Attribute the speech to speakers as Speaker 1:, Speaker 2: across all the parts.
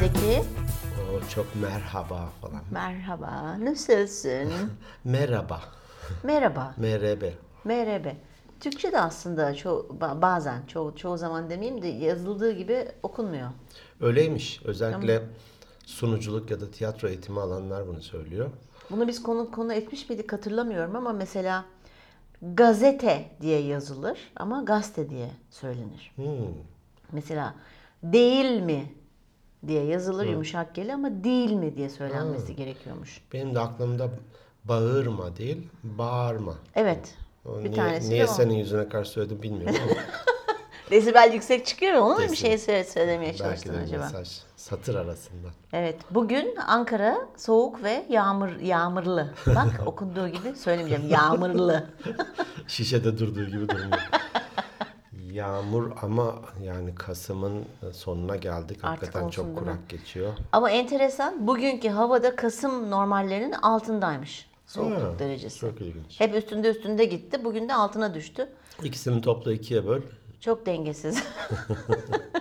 Speaker 1: Zeki.
Speaker 2: O çok merhaba falan.
Speaker 1: Merhaba, nasılsın?
Speaker 2: Merhaba.
Speaker 1: Merhaba,
Speaker 2: Merhaba.
Speaker 1: merhaba. Türkçe de aslında ço- ba- bazen, çoğu, çoğu zaman demeyeyim de yazıldığı gibi okunmuyor.
Speaker 2: Öyleymiş. Özellikle sunuculuk ya da tiyatro eğitimi alanlar bunu söylüyor.
Speaker 1: Bunu biz konu, konu etmiş miydik hatırlamıyorum ama mesela gazete diye yazılır ama gazete diye söylenir.
Speaker 2: Hmm.
Speaker 1: Mesela değil mi diye yazılır yumuşak geli ama değil mi diye söylenmesi gerekiyormuş.
Speaker 2: Benim de aklımda bağırma değil, bağırma.
Speaker 1: Evet.
Speaker 2: O
Speaker 1: bir
Speaker 2: niye
Speaker 1: tanesi
Speaker 2: niye
Speaker 1: de o.
Speaker 2: senin yüzüne karşı söyledim bilmiyorum ama
Speaker 1: Desibel yüksek çıkıyor ya, ona mı bir
Speaker 2: Kesin.
Speaker 1: şey söyle- söylemeye
Speaker 2: belki
Speaker 1: çalıştın
Speaker 2: de
Speaker 1: acaba?
Speaker 2: mesaj satır arasında.
Speaker 1: Evet. Bugün Ankara soğuk ve yağmur yağmurlu. Bak okunduğu gibi söylemeyeceğim. Yağmurlu.
Speaker 2: Şişede durduğu gibi durmuyor. Yağmur ama yani Kasım'ın sonuna geldik. Hakikaten
Speaker 1: olsun,
Speaker 2: çok
Speaker 1: değil mi?
Speaker 2: kurak geçiyor.
Speaker 1: Ama enteresan bugünkü havada Kasım normallerinin altındaymış soğukluk
Speaker 2: Ha,
Speaker 1: derecesi.
Speaker 2: Çok ilginç.
Speaker 1: Hep üstünde üstünde gitti. Bugün de altına düştü.
Speaker 2: İkisini topla ikiye böl.
Speaker 1: Çok dengesiz.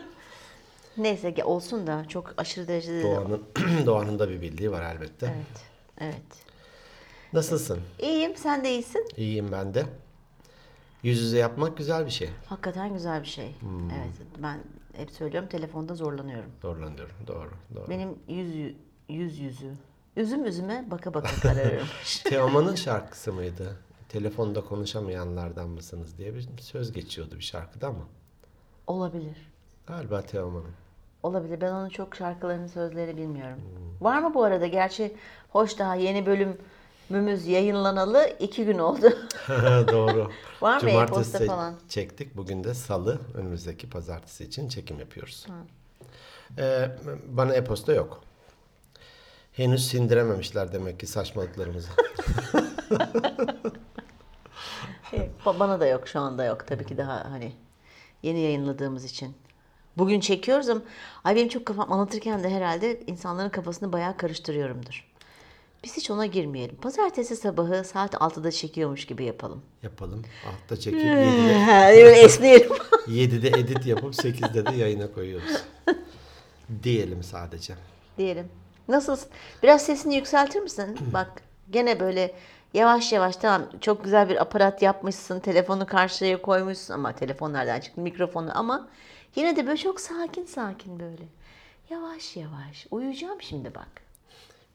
Speaker 1: Neyse ki olsun da çok aşırı derecede de-
Speaker 2: Doğanın, doğanın da bir bildiği var elbette.
Speaker 1: Evet. Evet.
Speaker 2: Nasılsın?
Speaker 1: İyiyim. Sen de iyisin.
Speaker 2: İyiyim ben de. Yüz yüze yapmak güzel bir şey.
Speaker 1: Hakikaten güzel bir şey.
Speaker 2: Hmm.
Speaker 1: Evet. Ben hep söylüyorum telefonda zorlanıyorum.
Speaker 2: Doğrulanıyorum. Doğru. doğru.
Speaker 1: Benim yüz yüz yüzü. Üzüm üzüme baka baka kararırmış.
Speaker 2: Teoman'ın şarkısı mıydı? Telefonda konuşamayanlardan mısınız diye bir söz geçiyordu bir şarkıda ama.
Speaker 1: olabilir.
Speaker 2: Galiba Teoman'ın.
Speaker 1: Olabilir. Ben onun çok şarkılarının sözleri bilmiyorum. Var mı bu arada? Gerçi hoş daha yeni bölümümüz yayınlanalı iki gün oldu.
Speaker 2: Doğru.
Speaker 1: Var mı
Speaker 2: Cumartesi
Speaker 1: e-posta falan?
Speaker 2: çektik. Bugün de salı. Önümüzdeki pazartesi için çekim yapıyoruz. Ee, bana e-posta yok. Henüz sindirememişler demek ki saçmalıklarımızı.
Speaker 1: E, Ba- Bana da yok şu anda yok. Tabii ki daha hani yeni yayınladığımız için. Bugün çekiyoruz ama ay benim çok kafam anlatırken de herhalde insanların kafasını bayağı karıştırıyorumdur. Biz hiç ona girmeyelim. Pazartesi sabahı saat 6'da çekiyormuş gibi yapalım.
Speaker 2: Yapalım. Altta çekip 7'de,
Speaker 1: Esneyelim.
Speaker 2: 7'de edit yapıp 8'de de yayına koyuyoruz. Diyelim sadece.
Speaker 1: diyelim. Nasılsın? Biraz sesini yükseltir misin? Bak gene böyle yavaş yavaş tamam çok güzel bir aparat yapmışsın. Telefonu karşıya koymuşsun ama telefon nereden çıktı mikrofonu ama yine de böyle çok sakin sakin böyle. Yavaş yavaş. Uyuyacağım şimdi bak.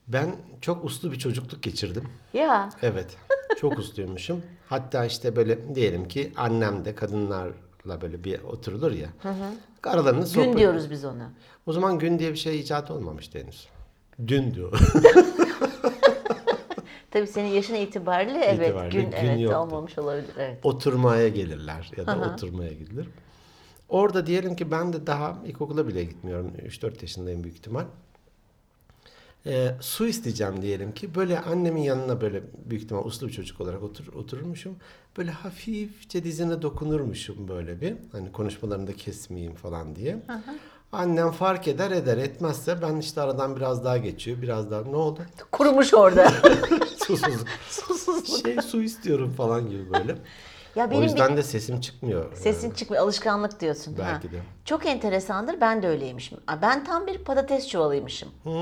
Speaker 2: Ben çok uslu bir çocukluk geçirdim.
Speaker 1: Ya
Speaker 2: Evet. Çok usluymuşum. Hatta işte böyle diyelim ki annem de kadınlarla böyle bir oturulur ya. Aralarında
Speaker 1: gün
Speaker 2: sohbet.
Speaker 1: diyoruz biz ona.
Speaker 2: O zaman gün diye bir şey icat olmamıştı henüz. Dün diyor.
Speaker 1: Tabii senin yaşın itibariyle evet
Speaker 2: İtibariyle
Speaker 1: gün,
Speaker 2: gün
Speaker 1: evet
Speaker 2: yoktu.
Speaker 1: olmamış olabilir evet.
Speaker 2: Oturmaya gelirler ya da oturmaya gidilir. Orada diyelim ki ben de daha ilkokula bile gitmiyorum. 3-4 yaşındayım büyük ihtimal. Ee, su isteyeceğim diyelim ki böyle annemin yanına böyle büyük ihtimal uslu bir çocuk olarak otur, otururmuşum. Böyle hafifçe dizine dokunurmuşum böyle bir. Hani konuşmalarını da kesmeyeyim falan diye. Annem fark eder eder etmezse ben işte aradan biraz daha geçiyor. Biraz daha ne oldu?
Speaker 1: Kurumuş orada.
Speaker 2: Susuzluk. Şey su istiyorum falan gibi böyle.
Speaker 1: ya
Speaker 2: O
Speaker 1: benim bir
Speaker 2: yüzden de sesim çıkmıyor.
Speaker 1: Sesin çıkmıyor, alışkanlık diyorsun.
Speaker 2: Belki de.
Speaker 1: Çok enteresandır, ben de öyleymişim. Aa, Ben tam bir patates çuvalıymışım.
Speaker 2: Hmm.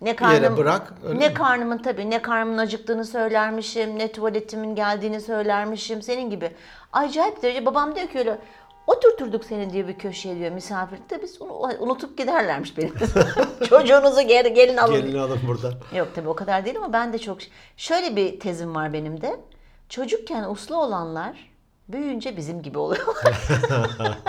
Speaker 1: Ne
Speaker 2: Bir
Speaker 1: karnım,
Speaker 2: yere bırak. Öyle
Speaker 1: ne
Speaker 2: mi?
Speaker 1: karnımın tabii, ne karnımın acıktığını söylermişim, ne tuvaletimin geldiğini söylermişim, senin gibi. Acayip derece babam diyor ki öyle, oturturduk seni diyor bir köşeye diyor misafirlikte, biz unu- unutup giderlermiş beni. Çocuğunuzu geri gelin alın
Speaker 2: Gelin alın buradan.
Speaker 1: Yok tabii o kadar değil ama ben de çok... Şöyle bir tezim var benim de. Çocukken uslu olanlar büyüyünce bizim gibi oluyorlar.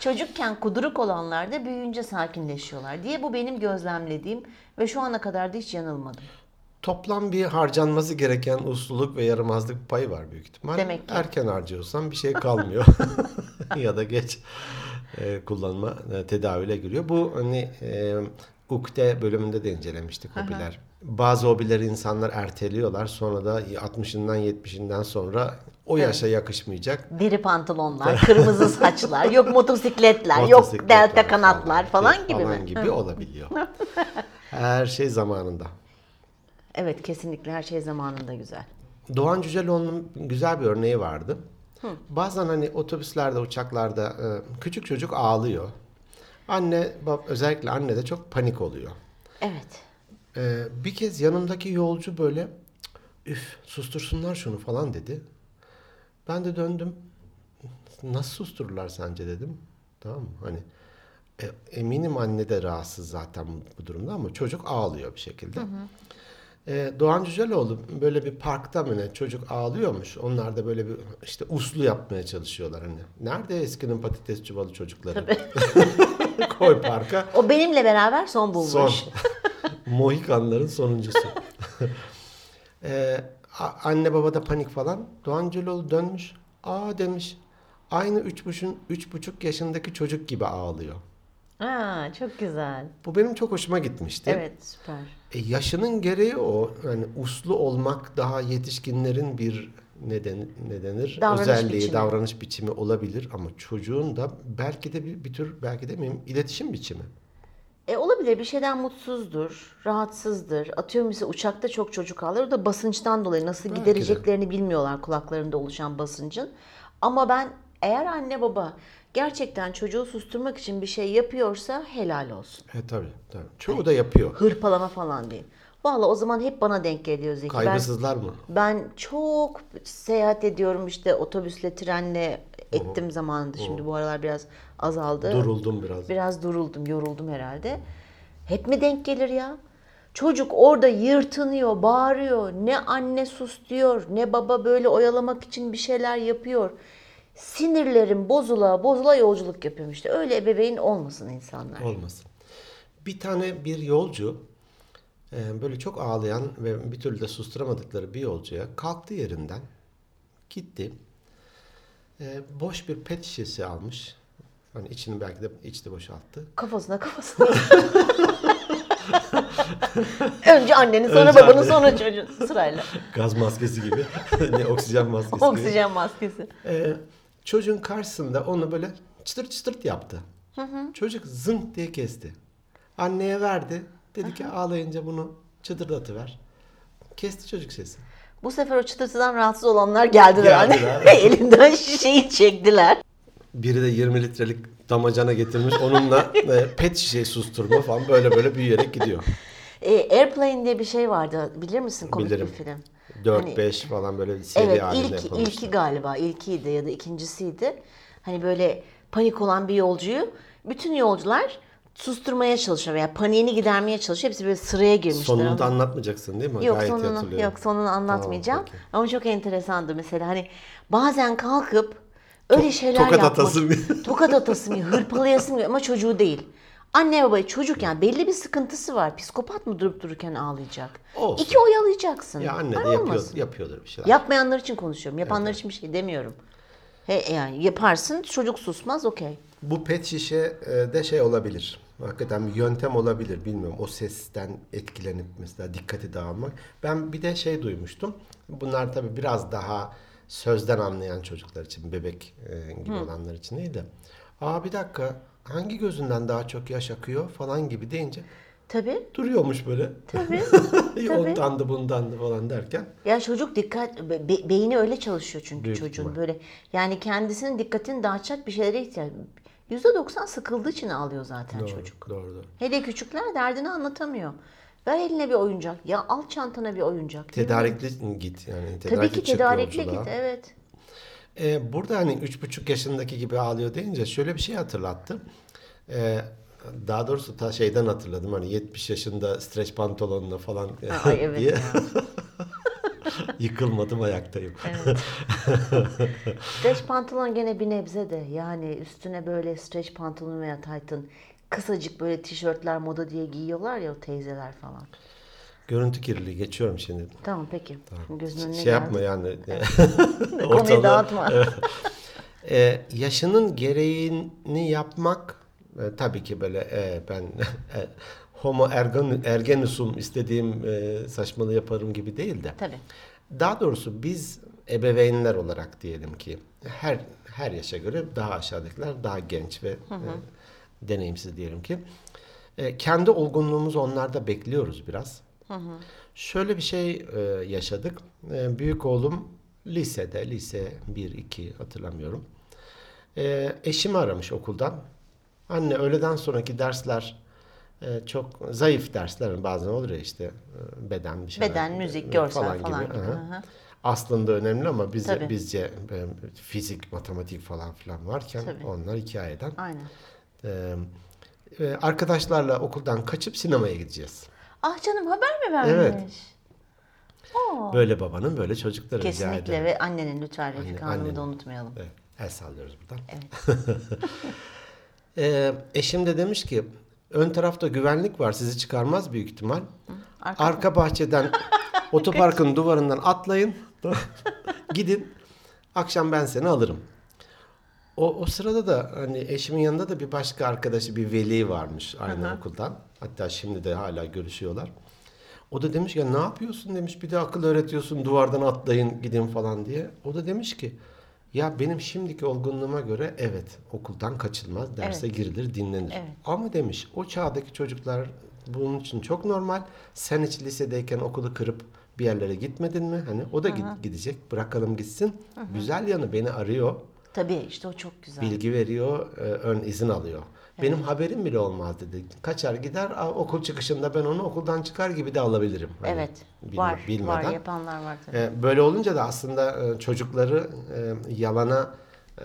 Speaker 1: Çocukken kuduruk olanlar da büyüyünce sakinleşiyorlar diye bu benim gözlemlediğim ve şu ana kadar da hiç yanılmadım.
Speaker 2: Toplam bir harcanması gereken usluluk ve yaramazlık payı var büyük ihtimal.
Speaker 1: Demek ki.
Speaker 2: Erken harcıyorsan bir şey kalmıyor. ya da geç e, kullanma e, tedavüle giriyor. Bu hani e, ukde bölümünde de incelemiştik hobiler. Bazı hobileri insanlar erteliyorlar. Sonra da 60'ından 70'inden sonra o yaşa yakışmayacak.
Speaker 1: Deri pantolonlar, kırmızı saçlar, yok motosikletler, yok
Speaker 2: motosikletler
Speaker 1: delta kanatlar falan, gibi mi?
Speaker 2: gibi olabiliyor. Her şey zamanında.
Speaker 1: Evet kesinlikle her şey zamanında güzel.
Speaker 2: Doğan Cüceloğlu'nun güzel bir örneği vardı. Bazen hani otobüslerde, uçaklarda e, küçük çocuk ağlıyor. Anne, bab- özellikle anne de çok panik oluyor.
Speaker 1: Evet.
Speaker 2: Ee, bir kez yanımdaki yolcu böyle üf sustursunlar şunu falan dedi. Ben de döndüm. Nasıl sustururlar sence dedim. Tamam mı? Hani e, eminim anne de rahatsız zaten bu durumda ama çocuk ağlıyor bir şekilde. Ee, Doğan Cüceloğlu böyle bir parkta mı ne çocuk ağlıyormuş. Onlar da böyle bir işte uslu yapmaya çalışıyorlar hani. Nerede eskinin patates çuvalı çocukları? Koy parka.
Speaker 1: O benimle beraber son bulmuş.
Speaker 2: Son. Mohikanların sonuncusu. Ee, a- anne baba da panik falan. Doğan Celoğlu dönmüş. Aa demiş. Aynı üç buçuk, üç buçuk yaşındaki çocuk gibi ağlıyor.
Speaker 1: Aa, çok güzel.
Speaker 2: Bu benim çok hoşuma gitmişti.
Speaker 1: Evet süper.
Speaker 2: E, yaşının gereği o. Yani uslu olmak daha yetişkinlerin bir neden ne denir?
Speaker 1: Davranış
Speaker 2: özelliği,
Speaker 1: biçimi.
Speaker 2: davranış biçimi olabilir ama çocuğun da belki de bir, bir tür belki de miyim iletişim biçimi.
Speaker 1: E olabilir bir şeyden mutsuzdur, rahatsızdır. Atıyorum mesela uçakta çok çocuk ağlar. O da basınçtan dolayı nasıl
Speaker 2: Belki de.
Speaker 1: gidereceklerini bilmiyorlar kulaklarında oluşan basıncın. Ama ben eğer anne baba gerçekten çocuğu susturmak için bir şey yapıyorsa helal olsun.
Speaker 2: E tabii tabii. Çoğu da yapıyor.
Speaker 1: Hırpalama falan değil. Valla o zaman hep bana denk geliyor Zeki. Ben-
Speaker 2: Kaygısızlar mı?
Speaker 1: Ben çok seyahat ediyorum işte otobüsle, trenle ettim zamanında. Şimdi bu aralar biraz azaldı.
Speaker 2: Duruldum biraz.
Speaker 1: Biraz duruldum, yoruldum herhalde. Hep mi denk gelir ya? Çocuk orada yırtınıyor, bağırıyor. Ne anne sus diyor, ne baba böyle oyalamak için bir şeyler yapıyor. Sinirlerim bozula bozula yolculuk yapıyorum işte. Öyle ebeveyn olmasın insanlar.
Speaker 2: Olmasın. Bir tane bir yolcu e, böyle çok ağlayan ve bir türlü de susturamadıkları bir yolcuya kalktı yerinden gitti. E, Boş bir pet şişesi almış. Hani içini belki de içti boşalttı.
Speaker 1: Kafasına kafasına. Önce annenin sonra
Speaker 2: Önce
Speaker 1: babanın
Speaker 2: anne.
Speaker 1: sonra çocuğun sırayla.
Speaker 2: Gaz maskesi gibi. ne oksijen maskesi gibi.
Speaker 1: Oksijen maskesi.
Speaker 2: E, çocuğun karşısında onu böyle çıtır çıtırt yaptı. Çocuk zınk diye kesti. Anneye verdi. Dedi ki ağlayınca bunu çıtırdatıver. Kesti çocuk sesi.
Speaker 1: Bu sefer o çıtırtıdan rahatsız olanlar geldiler.
Speaker 2: Geldiler.
Speaker 1: anne. Elinden şişeyi çektiler.
Speaker 2: Biri de 20 litrelik damacana getirmiş. Onunla e, pet şişeyi susturma falan böyle böyle büyüyerek gidiyor.
Speaker 1: E, Airplane diye bir şey vardı. Bilir misin komik
Speaker 2: Bilirim.
Speaker 1: bir film?
Speaker 2: 4
Speaker 1: Hani-
Speaker 2: 5 falan böyle seri
Speaker 1: Evet
Speaker 2: halinde
Speaker 1: ilk,
Speaker 2: yapılmış.
Speaker 1: ilki galiba ilkiydi ya da ikincisiydi. Hani böyle panik olan bir yolcuyu bütün yolcular susturmaya çalışıyor veya paniğini gidermeye çalışıyor. Hepsi böyle sıraya girmişler.
Speaker 2: Sonunu da anlatmayacaksın değil mi?
Speaker 1: Yok
Speaker 2: Gayet iyi
Speaker 1: sonunu,
Speaker 2: hatırlıyorum.
Speaker 1: yok sonunu anlatmayacağım.
Speaker 2: peki.
Speaker 1: Ama çok enteresandı mesela hani bazen kalkıp öyle şeyler
Speaker 2: tokat
Speaker 1: yapmak.
Speaker 2: atasın bir-
Speaker 1: Tokat atasın bir hırpalayasın bir ama çocuğu değil. Anne babayı çocuk yani belli bir sıkıntısı var. Psikopat mı durup dururken ağlayacak?
Speaker 2: Olsun.
Speaker 1: İki oyalayacaksın.
Speaker 2: Ya anne
Speaker 1: Ben
Speaker 2: de yapıyor,
Speaker 1: olmasın.
Speaker 2: yapıyordur bir şeyler.
Speaker 1: Yapmayanlar için konuşuyorum. Yapanlar için bir şey demiyorum. He, yani yaparsın çocuk susmaz okey.
Speaker 2: Bu pet şişe e, de şey olabilir. Hakikaten bir yöntem olabilir. Bilmiyorum o sesten etkilenip mesela dikkati dağılmak. Ben bir de şey duymuştum. Bunlar tabii biraz daha sözden anlayan çocuklar için, bebek e, gibi olanlar için değil de. Aa bir dakika hangi gözünden daha çok yaş akıyor falan gibi deyince
Speaker 1: Tabii.
Speaker 2: duruyormuş böyle.
Speaker 1: Tabii.
Speaker 2: Ondan da bundan da falan derken.
Speaker 1: Ya çocuk dikkat be- be- beyni öyle çalışıyor çünkü
Speaker 2: Büyük
Speaker 1: çocuğun
Speaker 2: ihtimal.
Speaker 1: böyle yani kendisinin dikkatini dağıtacak bir şeylere ihtiyaç. %90 sıkıldığı için ağlıyor zaten çocuk.
Speaker 2: Doğru doğru.
Speaker 1: Hele küçükler derdini anlatamıyor. Ver eline bir oyuncak. Ya al çantana bir oyuncak. değil mi?
Speaker 2: Tedarikli git yani.
Speaker 1: Tabii
Speaker 2: Tedarikli
Speaker 1: ki
Speaker 2: çık
Speaker 1: tedarikle
Speaker 2: yolculuğa.
Speaker 1: git evet.
Speaker 2: Ee, burada hani üç buçuk yaşındaki gibi ağlıyor deyince şöyle bir şey hatırlattı. Ee, daha doğrusu ta şeyden hatırladım hani 70 yaşında streç pantolonla falan
Speaker 1: Ay evet
Speaker 2: diye
Speaker 1: ya.
Speaker 2: yıkılmadım ayaktayım.
Speaker 1: Streç pantolon gene bir nebze de yani üstüne böyle streç pantolon veya taytın kısacık böyle tişörtler moda diye giyiyorlar ya o teyzeler falan.
Speaker 2: Görüntü kirliliği geçiyorum şimdi.
Speaker 1: Tamam peki. Şimdi gözünün önüne
Speaker 2: şey
Speaker 1: geldi.
Speaker 2: yapma yani.
Speaker 1: Konuyu dağıtma.
Speaker 2: Ee, yaşının gereğini yapmak e, tabii ki böyle e, ben e, homo ergen, ergenusum istediğim e, saçmalığı yaparım gibi değil de.
Speaker 1: Tabii.
Speaker 2: Daha doğrusu biz ebeveynler olarak diyelim ki her her yaşa göre daha aşağıdakiler daha genç ve e, deneyimsiz diyelim ki E, kendi olgunluğumuzu onlarda bekliyoruz biraz. Şöyle bir şey e, yaşadık. E, büyük oğlum lisede, lise 1-2 hatırlamıyorum. E, eşimi aramış okuldan. Anne öğleden sonraki dersler e, çok zayıf dersler hani bazen olur ya işte e, beden bir şeyler.
Speaker 1: Beden, müzik, görsel e, falan, gibi.
Speaker 2: Aha.
Speaker 1: Aha.
Speaker 2: Aslında önemli ama bize
Speaker 1: Tabii.
Speaker 2: bizce e, fizik, matematik falan filan varken
Speaker 1: Tabii.
Speaker 2: onlar hikayeden.
Speaker 1: Aynen.
Speaker 2: E, e, arkadaşlarla okuldan kaçıp sinemaya gideceğiz.
Speaker 1: Ah canım haber mi vermiş?
Speaker 2: Evet.
Speaker 1: Oo.
Speaker 2: Böyle babanın böyle çocukları rica
Speaker 1: Kesinlikle
Speaker 2: ederim.
Speaker 1: ve annenin lütfen Refik
Speaker 2: Anne-
Speaker 1: Hanım'ı da
Speaker 2: annenin.
Speaker 1: unutmayalım.
Speaker 2: Evet, el sallıyoruz buradan.
Speaker 1: Evet.
Speaker 2: E, eşim de demiş ki ön tarafta güvenlik var sizi çıkarmaz büyük ihtimal.
Speaker 1: Arka,
Speaker 2: Arka bahçeden otoparkın duvarından atlayın. gidin. Akşam ben seni alırım. O, o sırada da hani eşimin yanında da bir başka arkadaşı bir veli varmış aynı okuldan. Hatta şimdi de hala görüşüyorlar. O da demiş ki ne yapıyorsun demiş bir de akıl öğretiyorsun duvardan atlayın gidin falan diye. O da demiş ki ya benim şimdiki olgunluğuma göre evet okuldan kaçılmaz derse girilir dinlenir.
Speaker 1: Evet.
Speaker 2: Ama demiş o çağdaki çocuklar bunun için çok normal. Sen hiç lisedeyken okulu kırıp bir yerlere gitmedin mi? Hani o da gid- gidecek bırakalım gitsin. Güzel yanı beni arıyor
Speaker 1: Tabii işte o çok güzel.
Speaker 2: bilgi veriyor, e, ön izin alıyor. Benim haberim bile olmaz dedi. Kaçar gider a, okul çıkışında ben onu okuldan çıkar gibi de alabilirim. Hani
Speaker 1: evet.
Speaker 2: bilme-
Speaker 1: var.
Speaker 2: bilmeden.
Speaker 1: Var yapanlar var tabii.
Speaker 2: E, Böyle olunca da aslında e, çocukları e, yalana e,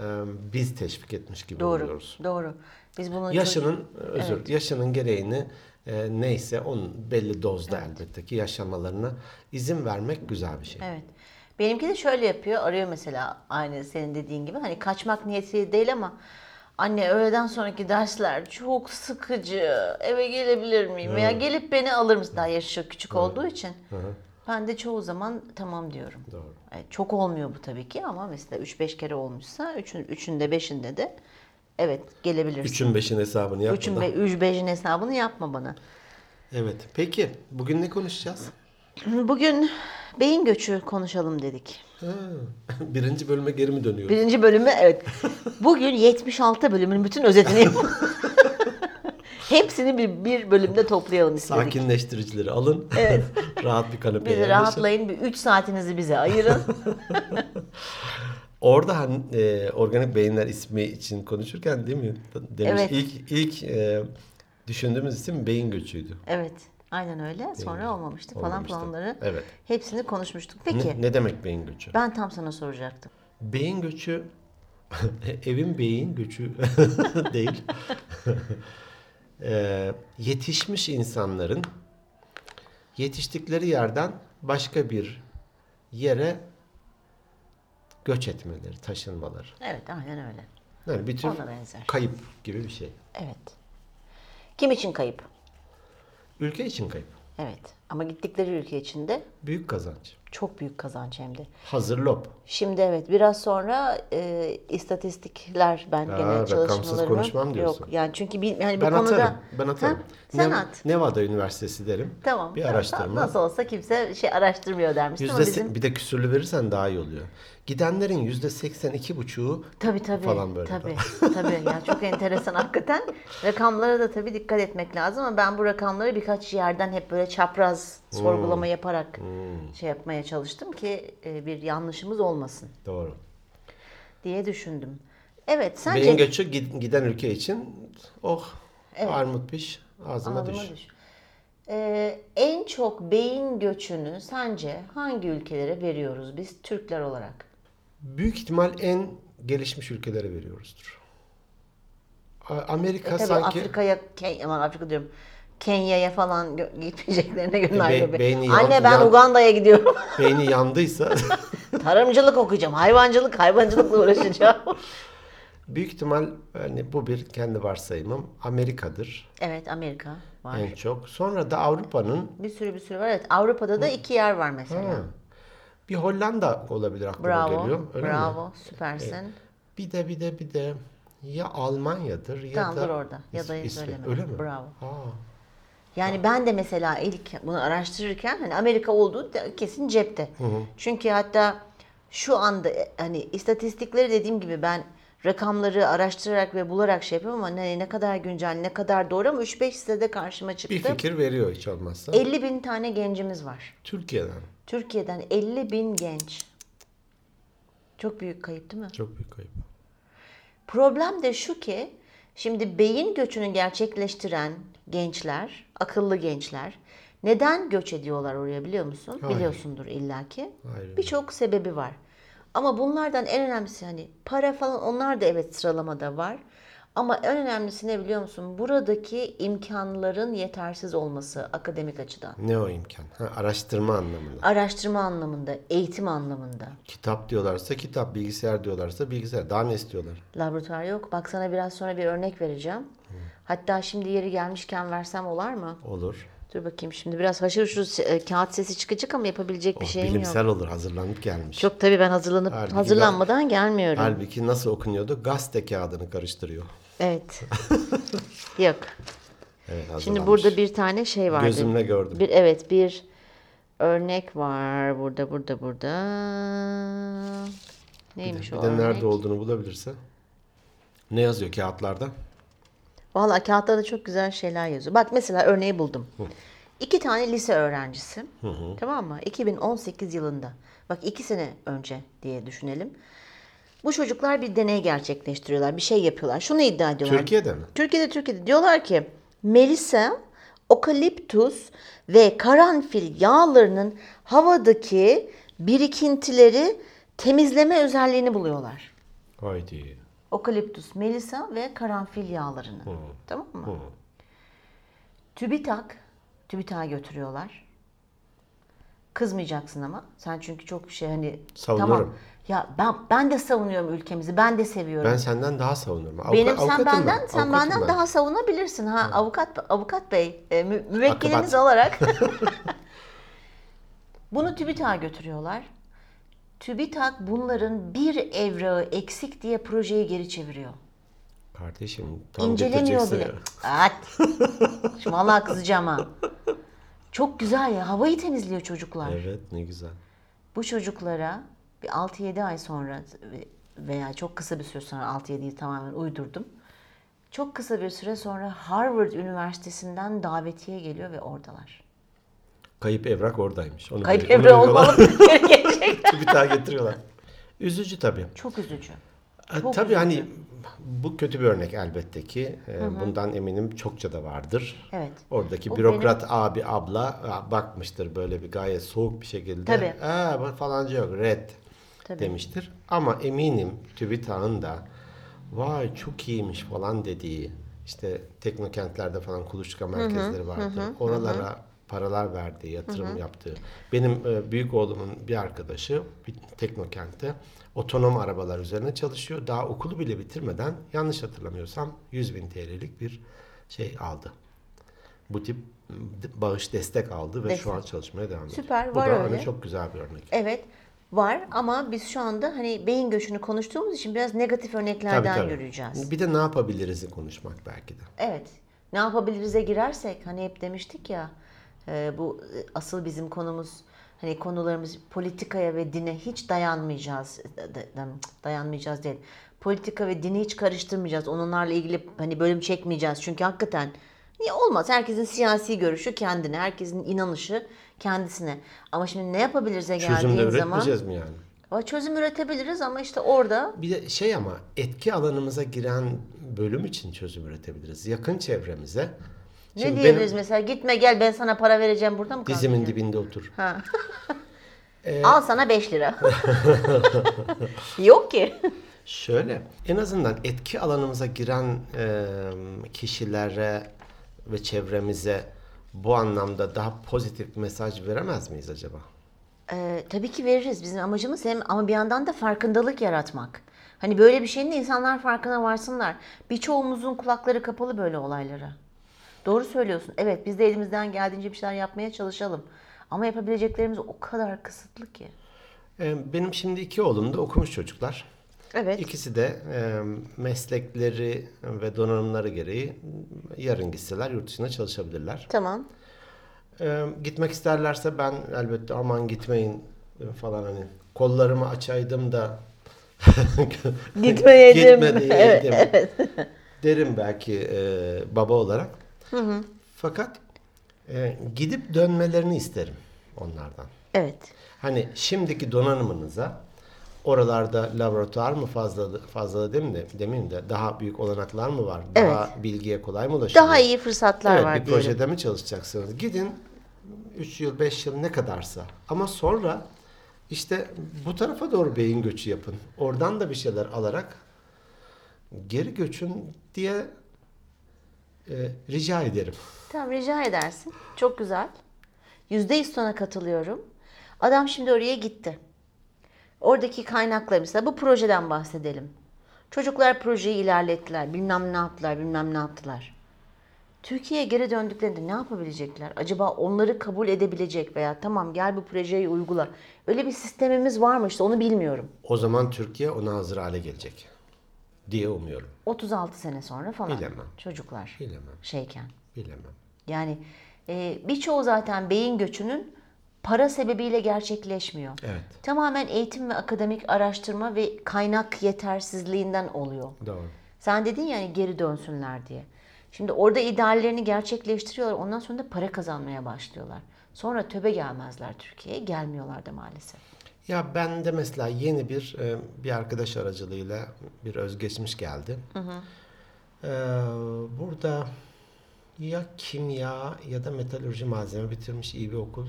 Speaker 2: biz teşvik etmiş gibi
Speaker 1: doğru.
Speaker 2: oluyoruz.
Speaker 1: Doğru. Biz bunun
Speaker 2: Yaşının e, özür, yaşının gereğini e, neyse onun belli dozda elbette ki yaşamalarına izin vermek güzel bir şey.
Speaker 1: Evet. Benimki de şöyle yapıyor. Arıyor mesela aynı senin dediğin gibi. Hani kaçmak niyeti değil ama anne öğleden sonraki dersler çok sıkıcı. Eve gelebilir miyim? Veya gelip beni alır mısın? Daha yaşı küçük olduğu için. Ben de çoğu zaman tamam diyorum.
Speaker 2: Doğru.
Speaker 1: E, Çok olmuyor bu tabii ki ama mesela 3-5 kere olmuşsa 3'ün 3'ünde 5'inde de evet gelebilirsin.
Speaker 2: Üçün beşin hesabını yapmadan.
Speaker 1: 3'ün ve 3-5'in hesabını yapma bana.
Speaker 2: Evet. Peki bugün ne konuşacağız?
Speaker 1: Bugün beyin göçü konuşalım dedik.
Speaker 2: Ha, birinci bölüme geri mi dönüyoruz?
Speaker 1: Birinci bölümü evet. Bugün 76 bölümün bütün özetini Hepsini bir, bir bölümde toplayalım istedik.
Speaker 2: Sakinleştiricileri alın. Rahat bir kanepeye
Speaker 1: Bizi
Speaker 2: yerleşin.
Speaker 1: rahatlayın. Bir 3 saatinizi bize ayırın.
Speaker 2: Orada hani, e, organik beyinler ismi için konuşurken değil mi? Demiş
Speaker 1: Evet.
Speaker 2: ilk ilk e, düşündüğümüz isim beyin göçüydü.
Speaker 1: evet. Aynen öyle.
Speaker 2: göçü.
Speaker 1: Sonra olmamıştı falan
Speaker 2: Olmamıştı.
Speaker 1: planları.
Speaker 2: Evet.
Speaker 1: Hepsini konuşmuştuk.
Speaker 2: Ne,
Speaker 1: Peki.
Speaker 2: ne demek beyin göçü?
Speaker 1: Ben tam sana soracaktım.
Speaker 2: Beyin göçü e, evin beyin göçü değil. Eee, yetişmiş insanların yetiştikleri yerden başka bir yere göç etmeleri, taşınmaları.
Speaker 1: Evet, aynen öyle.
Speaker 2: Yani bir tür
Speaker 1: Ona benzer.
Speaker 2: kayıp gibi bir şey.
Speaker 1: Evet. Kim için kayıp?
Speaker 2: Ülke için kayıp.
Speaker 1: Evet. Ama gittikleri ülke içinde
Speaker 2: Büyük kazanç.
Speaker 1: çok büyük kazanç hem de.
Speaker 2: Hazır lop.
Speaker 1: Şimdi evet biraz sonra e, istatistikler ben
Speaker 2: Aa,
Speaker 1: gene
Speaker 2: rakamsız
Speaker 1: çalışmalarımı
Speaker 2: konuşmam diyorsun.
Speaker 1: yok yani çünkü bil, yani
Speaker 2: Ben
Speaker 1: bu konuda
Speaker 2: atarım. Ben atarım.
Speaker 1: Ha, sen
Speaker 2: Ne-
Speaker 1: at.
Speaker 2: Nevada Üniversitesi derim.
Speaker 1: Tamam.
Speaker 2: Bir
Speaker 1: tamam.
Speaker 2: araştırma.
Speaker 1: Nasıl olsa kimse şey araştırmıyor dermiştim
Speaker 2: Yüzde
Speaker 1: ama bizim
Speaker 2: se- bir de küsürlü verirsen daha iyi oluyor. Gidenlerin yüzde seksen iki buçuğu
Speaker 1: Tabii tabii.
Speaker 2: falan böyle.
Speaker 1: Tabii tabii. Yani çok enteresan hakikaten. Rakamlara da tabii dikkat etmek lazım ama ben bu rakamları birkaç yerden hep böyle çapraz
Speaker 2: Hmm.
Speaker 1: sorgulama yaparak şey yapmaya çalıştım ki e, bir yanlışımız olmasın
Speaker 2: Doğru.
Speaker 1: diye düşündüm. Evet sence
Speaker 2: Beyin göçü gid- giden ülke için oh armut piş ağzıma,
Speaker 1: Ağzıma
Speaker 2: düş.
Speaker 1: düş. E, en çok beyin göçünü sence hangi ülkelere veriyoruz biz Türkler olarak?
Speaker 2: Büyük ihtimal en gelişmiş ülkelere veriyoruzdur. A- Amerika
Speaker 1: E, Tabii
Speaker 2: sanki
Speaker 1: Afrika'ya, Kenya, aman Afrika diyorum. Kenya'ya falan gö- gitmeyeceklerine göre ayrı bir-
Speaker 2: E, beyni yan-
Speaker 1: Anne ben
Speaker 2: yan-
Speaker 1: Uganda'ya gidiyorum.
Speaker 2: beyni yandıysa
Speaker 1: Tarımcılık okuyacağım. Hayvancılık, hayvancılıkla uğraşacağım.
Speaker 2: Büyük ihtimal yani bu bir kendi varsayımım. Amerika'dır
Speaker 1: evet Amerika var.
Speaker 2: en çok. Sonra da Avrupa'nın
Speaker 1: Bir sürü bir sürü var. Evet Avrupa'da da iki yer var mesela.
Speaker 2: ha, bir Hollanda olabilir aklıma
Speaker 1: Bravo.
Speaker 2: geliyor. Öyle mi?
Speaker 1: bravo. Süpersin.
Speaker 2: Bir de bir de bir de ya Almanya'dır ya
Speaker 1: Tamam,
Speaker 2: da
Speaker 1: dur orada. Ya
Speaker 2: İs-
Speaker 1: da
Speaker 2: İsveç.
Speaker 1: söyleme.
Speaker 2: Öyle mi?
Speaker 1: Bravo.
Speaker 2: Aa,
Speaker 1: Yani ben de mesela ilk bunu araştırırken hani Amerika olduğu de- kesin cepte. Çünkü hatta şu anda e, hani istatistikleri dediğim gibi ben rakamları araştırarak ve bularak şey yapıyorum ama ne, ne kadar güncel, ne kadar doğru ama 3-5 sitede karşıma
Speaker 2: bir
Speaker 1: çıktı.
Speaker 2: fikir veriyor hiç olmazsa.
Speaker 1: 50 bin tane gencimiz var.
Speaker 2: Türkiye'den
Speaker 1: Türkiye'den 50 bin genç. Çok büyük kayıp değil mi?
Speaker 2: çok büyük kayıp.
Speaker 1: Problem de şu ki Şimdi beyin göçünü gerçekleştiren gençler, akıllı gençler neden göç ediyorlar oraya biliyor musun?
Speaker 2: Hayır.
Speaker 1: Biliyorsundur illaki.
Speaker 2: Hayır.
Speaker 1: Birçok sebebi var. Ama bunlardan en önemlisi hani para falan onlar da evet sıralamada var. Ama en önemlisi ne biliyor musun? Buradaki imkanların yetersiz olması akademik açıdan.
Speaker 2: Ne o imkan? Ha, araştırma anlamında.
Speaker 1: Araştırma anlamında, eğitim anlamında.
Speaker 2: Kitap diyorlarsa kitap, bilgisayar diyorlarsa bilgisayar. Daha ne istiyorlar?
Speaker 1: Laboratuvar yok. Bak sana biraz sonra bir örnek vereceğim. Hatta şimdi yeri gelmişken versem olar mı?
Speaker 2: Olur.
Speaker 1: Dur bakayım şimdi biraz haşır huşur e, kağıt sesi çıkacak ama yapabilecek bir
Speaker 2: Oh,
Speaker 1: şeyim yok.
Speaker 2: bilimsel olur. Hazırlanıp gelmiş.
Speaker 1: Çok tabii ben hazırlanıp
Speaker 2: Halbuki
Speaker 1: hazırlanmadan gelmiyorum.
Speaker 2: Halbuki nasıl okunuyordu? Gazete kağıdını karıştırıyor.
Speaker 1: Evet. yok.
Speaker 2: Evet,
Speaker 1: Şimdi
Speaker 2: hazırlanmış.
Speaker 1: burada bir tane şey vardı.
Speaker 2: Gözümle gördüm.
Speaker 1: Bir evet bir örnek var burada burada burada. Neymiş
Speaker 2: Bir
Speaker 1: o
Speaker 2: de
Speaker 1: örnek?
Speaker 2: nerede olduğunu bulabilirse. Ne yazıyor kağıtlarda?
Speaker 1: Valla kağıtta da çok güzel şeyler yazıyor. Bak mesela örneği buldum. İki tane lise öğrencisi. Tamam mı? 2018 yılında. Bak iki sene önce diye düşünelim. Bu çocuklar bir deney gerçekleştiriyorlar. Bir şey yapıyorlar. Şunu iddia ediyorlar.
Speaker 2: Türkiye'de mi?
Speaker 1: Türkiye'de Türkiye'de diyorlar ki Melisa, okaliptus ve karanfil yağlarının havadaki birikintileri temizleme özelliğini buluyorlar.
Speaker 2: Haydi.
Speaker 1: Okaliptus, melisa ve karanfil yağlarını. Tamam mı? TÜBİTAK, TÜBİTAK'a götürüyorlar. Kızmayacaksın ama. Sen çünkü çok şey hani tamam.
Speaker 2: Savunuyorum.
Speaker 1: Ya ben ben de savunuyorum ülkemizi. Ben de seviyorum.
Speaker 2: Ben senden daha savunurum. Avuka-
Speaker 1: Benim sen
Speaker 2: avukatım ben.
Speaker 1: benden sen
Speaker 2: Avukatım
Speaker 1: benden
Speaker 2: ben.
Speaker 1: daha savunabilirsin ha avukat avukat bey e, mü- müvekkiliniz
Speaker 2: Akıbat.
Speaker 1: olarak. Bunu TÜBİTAK'a götürüyorlar. TÜBİTAK bunların bir evrağı eksik diye projeyi geri çeviriyor.
Speaker 2: Kardeşim tam
Speaker 1: İncelemiyor
Speaker 2: getireceksin
Speaker 1: bile.
Speaker 2: ya.
Speaker 1: At. Şimdi vallahi kızacağım ha. Çok güzel ya. Havayı temizliyor çocuklar.
Speaker 2: Evet ne güzel.
Speaker 1: Bu çocuklara bir 6-7 ay sonra veya çok kısa bir süre sonra 6-7'yi tamamen uydurdum. Çok kısa bir süre sonra Harvard Üniversitesi'nden davetiye geliyor ve oradalar.
Speaker 2: Kayıp evrak oradaymış. Onu
Speaker 1: Kayıp
Speaker 2: onu
Speaker 1: evre
Speaker 2: veriyorlar.
Speaker 1: olmalı. Geri gelecek.
Speaker 2: bir daha getiriyorlar. Üzücü tabii.
Speaker 1: Çok üzücü.
Speaker 2: E,
Speaker 1: Çok
Speaker 2: tabii
Speaker 1: üzücü.
Speaker 2: hani bu kötü bir örnek elbette ki. E, Bundan eminim çokça da vardır.
Speaker 1: Evet.
Speaker 2: Oradaki
Speaker 1: O
Speaker 2: bürokrat abi abla a, bakmıştır böyle bir gayet soğuk bir şekilde.
Speaker 1: Tabii.
Speaker 2: Aa, bak falanca yok red
Speaker 1: Tabii.
Speaker 2: demiştir. Ama eminim TÜBİTAK'ın da vay çok iyiymiş falan dediği işte teknokentlerde falan kuluçka merkezleri vardı. Oralara paralar verdiği, yatırım yaptığı. Benim e, büyük oğlumun bir arkadaşı bir teknokentte otonom arabalar üzerine çalışıyor. Daha okulu bile bitirmeden yanlış hatırlamıyorsam 100 bin TL'lik bir şey aldı. Bu tip m, bağış destek aldı ve şu
Speaker 1: Destek.
Speaker 2: an çalışmaya devam ediyor.
Speaker 1: Süper,
Speaker 2: Bu
Speaker 1: var
Speaker 2: da hani
Speaker 1: öyle.
Speaker 2: çok güzel bir örnek.
Speaker 1: Evet var ama biz şu anda hani beyin göçünü konuştuğumuz için biraz negatif
Speaker 2: Tabii,
Speaker 1: örneklerden
Speaker 2: tabii.
Speaker 1: göreceğiz.
Speaker 2: Bir de ne yapabiliriz konuşmak belki de.
Speaker 1: Evet. Ne yapabiliriz'e girersek hani hep demiştik ya e, bu e, asıl bizim konumuz hani konularımız politikaya ve dine hiç dayanmayacağız e, da- da- dayanmayacağız değil. Politika ve dini hiç karıştırmayacağız. Onlarla ilgili hani bölüm çekmeyeceğiz. Çünkü hakikaten niye olmaz? Herkesin siyasi görüşü kendine, herkesin inanışı kendisine. Ama şimdi ne yapabiliriz'e
Speaker 2: Çözüm de
Speaker 1: geldiğin zaman
Speaker 2: üretmeyeceğiz mi yani?
Speaker 1: Ama çözüm üretebiliriz ama işte orada
Speaker 2: Bir de şey ama etki alanımıza giren bölüm için çözüm üretebiliriz. Yakın çevremize.
Speaker 1: ne
Speaker 2: Şimdi
Speaker 1: diyebiliriz
Speaker 2: benim
Speaker 1: mesela gitme gel ben sana para vereceğim burada mı
Speaker 2: Dizimin
Speaker 1: kalacaksın?
Speaker 2: dibinde otur.
Speaker 1: Ha. Al sana 5 lira. Yok ki.
Speaker 2: Şöyle, en azından etki alanımıza giren e, kişilere ve çevremize bu anlamda daha pozitif mesaj veremez miyiz acaba?
Speaker 1: Ee, tabii ki veririz. Bizim amacımız hem ama bir yandan da farkındalık yaratmak. Hani böyle bir şeyin de insanlar farkına varsınlar. Birçoğumuzun kulakları kapalı böyle olaylara. Doğru söylüyorsun. Evet biz de elimizden geldiğince bir şeyler yapmaya çalışalım. Ama yapabileceklerimiz o kadar kısıtlı ki.
Speaker 2: E, benim şimdi iki oğlum da okumuş çocuklar.
Speaker 1: Evet.
Speaker 2: İkisi de e, meslekleri ve donanımları gereği yarın gitseler yurt dışına çalışabilirler.
Speaker 1: Tamam.
Speaker 2: E, gitmek isterlerse ben elbette aman gitmeyin e, falan hani kollarımı açaydım da
Speaker 1: Gitmeyeydim.
Speaker 2: gitmediydim derim belki e, baba olarak. Fakat e, gidip dönmelerini isterim onlardan.
Speaker 1: Evet.
Speaker 2: Hani şimdiki donanımınıza Oralarda laboratuvar mı fazla fazla değil mi de demeyeyim de daha büyük olanaklar mı var? Daha bilgiye kolay mı ulaşılıyor?
Speaker 1: Daha iyi fırsatlar
Speaker 2: evet,
Speaker 1: var
Speaker 2: bir
Speaker 1: diyelim.
Speaker 2: projede mi çalışacaksınız? Gidin 3 yıl 5 yıl ne kadarsa ama sonra işte bu tarafa doğru beyin göçü yapın. Oradan da bir şeyler alarak geri göçün diye e, rica ederim.
Speaker 1: Tamam rica edersin. Çok güzel. Yüzde yüz sana katılıyorum. Adam şimdi oraya gitti. Oradaki kaynaklar mesela bu projeden bahsedelim. Çocuklar projeyi ilerlettiler. Bilmem ne yaptılar, bilmem ne yaptılar. Türkiye'ye geri döndüklerinde ne yapabilecekler? Acaba onları kabul edebilecek veya tamam gel bu projeyi uygula. Öyle bir sistemimiz var mı işte onu bilmiyorum.
Speaker 2: O zaman Türkiye ona hazır hale gelecek diye umuyorum.
Speaker 1: 36 sene sonra falan
Speaker 2: Bilemem.
Speaker 1: çocuklar
Speaker 2: Bilemem,
Speaker 1: şeyken.
Speaker 2: bilemem.
Speaker 1: Yani e, birçoğu zaten beyin göçünün para sebebiyle gerçekleşmiyor.
Speaker 2: Evet.
Speaker 1: Tamamen eğitim ve akademik araştırma ve kaynak yetersizliğinden oluyor.
Speaker 2: Doğru.
Speaker 1: Sen dedin ya hani geri dönsünler diye. Şimdi orada ideallerini gerçekleştiriyorlar. Ondan sonra da para kazanmaya başlıyorlar. Sonra töbe gelmezler Türkiye'ye. Gelmiyorlar da maalesef.
Speaker 2: Ya ben de mesela yeni bir e, bir arkadaş aracılığıyla bir özgeçmiş geldi. Ee, burada ya kimya ya da metalürji malzeme bitirmiş iyi bir okul.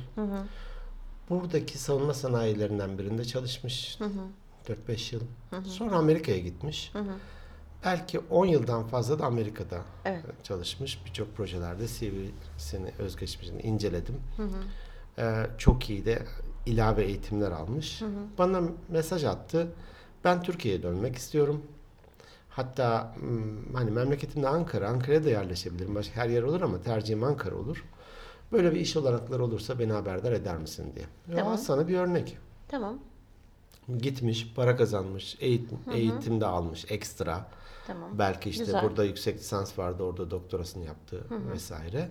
Speaker 2: Buradaki savunma sanayilerinden birinde çalışmış. 4-5 yıl. Sonra Amerika'ya gitmiş. Belki 10 yıldan fazla da Amerika'da
Speaker 1: Evet.
Speaker 2: çalışmış. Birçok projelerde CV'sini, özgeçmişini inceledim. Ee, çok iyi de ilave eğitimler almış. Bana mesaj attı. Ben Türkiye'ye dönmek istiyorum. Hatta hmm, hani memleketimde Ankara, Ankara'ya da yerleşebilirim. Başka her yer olur ama tercihim Ankara olur. Böyle bir iş olanakları olursa beni haberdar eder misin diye. Ya
Speaker 1: Tamam.
Speaker 2: al sana bir örnek.
Speaker 1: Tamam.
Speaker 2: Gitmiş, para kazanmış, eğitim, eğitim de almış ekstra.
Speaker 1: Tamam.
Speaker 2: Belki işte
Speaker 1: Güzel.
Speaker 2: burada yüksek lisans vardı, orada doktorasını yaptı vesaire.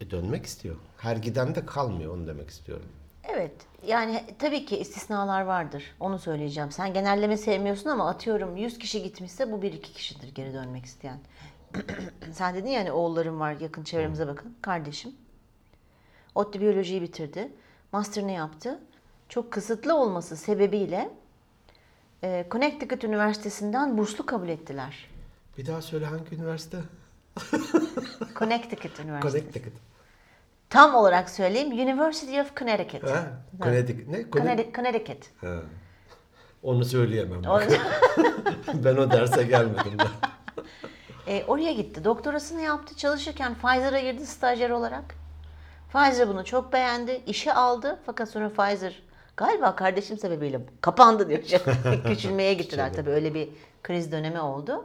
Speaker 2: E, dönmek istiyor. Her giden de kalmıyor onu demek istiyorum.
Speaker 1: Evet. Yani tabii ki istisnalar vardır. Onu söyleyeceğim. Sen genelleme sevmiyorsun ama atıyorum 100 kişi gitmişse bu 1-2 kişidir geri dönmek isteyen. Sen dedin yani oğullarım var yakın çevremize bakın. Kardeşim. ODTÜ biyolojiyi bitirdi. Master'ını yaptı. Çok kısıtlı olması sebebiyle e, Connecticut Üniversitesi'nden burslu kabul ettiler.
Speaker 2: Bir daha söyle hangi üniversite?
Speaker 1: Connecticut Üniversitesi.
Speaker 2: Connecticut. Connecticut.
Speaker 1: Tam olarak söyleyeyim University of Connecticut.
Speaker 2: Ha? Connecticut. Ne?
Speaker 1: Connecticut.
Speaker 2: Connecticut.
Speaker 1: Connecticut.
Speaker 2: Ha. Onu söyleyemem.
Speaker 1: O-
Speaker 2: ben o derse gelmedim. ben.
Speaker 1: E, oraya gitti. Doktorasını yaptı. Çalışırken Pfizer'a girdi stajyer olarak. Pfizer bunu çok beğendi. işe aldı. Fakat sonra Pfizer galiba kardeşim sebebiyle kapandı diyor. Küçülmeye gittiler tabii. Öyle bir kriz dönemi oldu.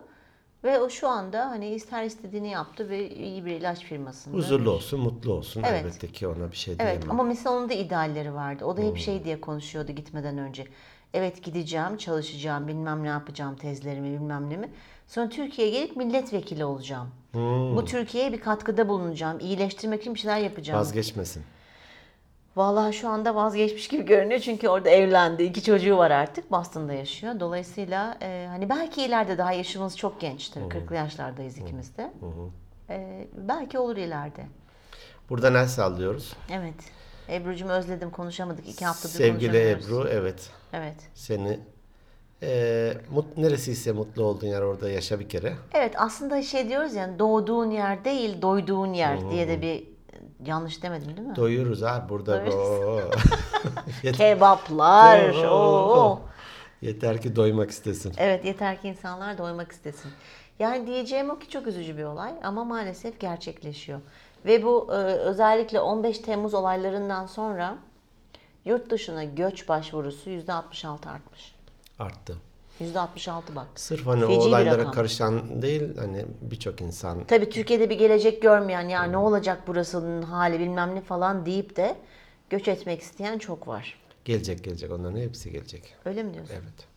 Speaker 1: Ve o şu anda hani ister istediğini yaptı ve iyi bir ilaç firmasında.
Speaker 2: Huzurlu olsun, mutlu olsun.
Speaker 1: Evet.
Speaker 2: Elbette ki ona bir şey
Speaker 1: Evet
Speaker 2: diyemem.
Speaker 1: ama mesela onun da idealleri vardı. O da hep şey diye konuşuyordu gitmeden önce. Evet gideceğim, çalışacağım, bilmem ne yapacağım, tezlerimi bilmem ne mi. Sonra Türkiye'ye gelip milletvekili olacağım.
Speaker 2: Hmm.
Speaker 1: Bu Türkiye'ye bir katkıda bulunacağım. iyileştirmek için bir şeyler yapacağım.
Speaker 2: Vazgeçmesin.
Speaker 1: Vallahi şu anda vazgeçmiş gibi görünüyor çünkü orada evlendi. iki çocuğu var artık. Boston'da yaşıyor. Dolayısıyla e, hani belki ileride daha yaşımız çok gençtir. 40'lı yaşlardayız ikimiz de. E, belki olur ileride.
Speaker 2: Buradan el sallıyoruz.
Speaker 1: Evet. Ebru'cum özledim konuşamadık. iki haftadır
Speaker 2: Sevgili
Speaker 1: konuşamıyoruz.
Speaker 2: Ebru, evet.
Speaker 1: Evet.
Speaker 2: Seni eee mut, neresiyse mutlu olduğun yer orada yaşa bir kere.
Speaker 1: Evet aslında şey diyoruz yani doğduğun yer değil doyduğun yer diye de bir yanlış demedim değil mi?
Speaker 2: Doyuyoruz ha burada.
Speaker 1: Doyuyoruz.
Speaker 2: Oo. yeter,
Speaker 1: Kebaplar.
Speaker 2: Oo.
Speaker 1: Oo.
Speaker 2: yeter ki doymak istesin.
Speaker 1: Evet yeter ki insanlar doymak istesin. Yani diyeceğim o ki çok üzücü bir olay ama maalesef gerçekleşiyor. Ve bu e, özellikle 15 Temmuz olaylarından sonra yurt dışına göç başvurusu %66 artmış.
Speaker 2: Arttı.
Speaker 1: %66 bak.
Speaker 2: Sırf hani
Speaker 1: Feci
Speaker 2: o
Speaker 1: bir
Speaker 2: olaylara
Speaker 1: rakam.
Speaker 2: karışan değil hani birçok insan
Speaker 1: Tabii Türkiye'de bir gelecek görmeyen ya ne olacak burasının hali bilmem ne falan deyip de göç etmek isteyen çok var.
Speaker 2: gelecek gelecek onların hepsi gelecek.
Speaker 1: Öyle mi diyorsun?
Speaker 2: Evet.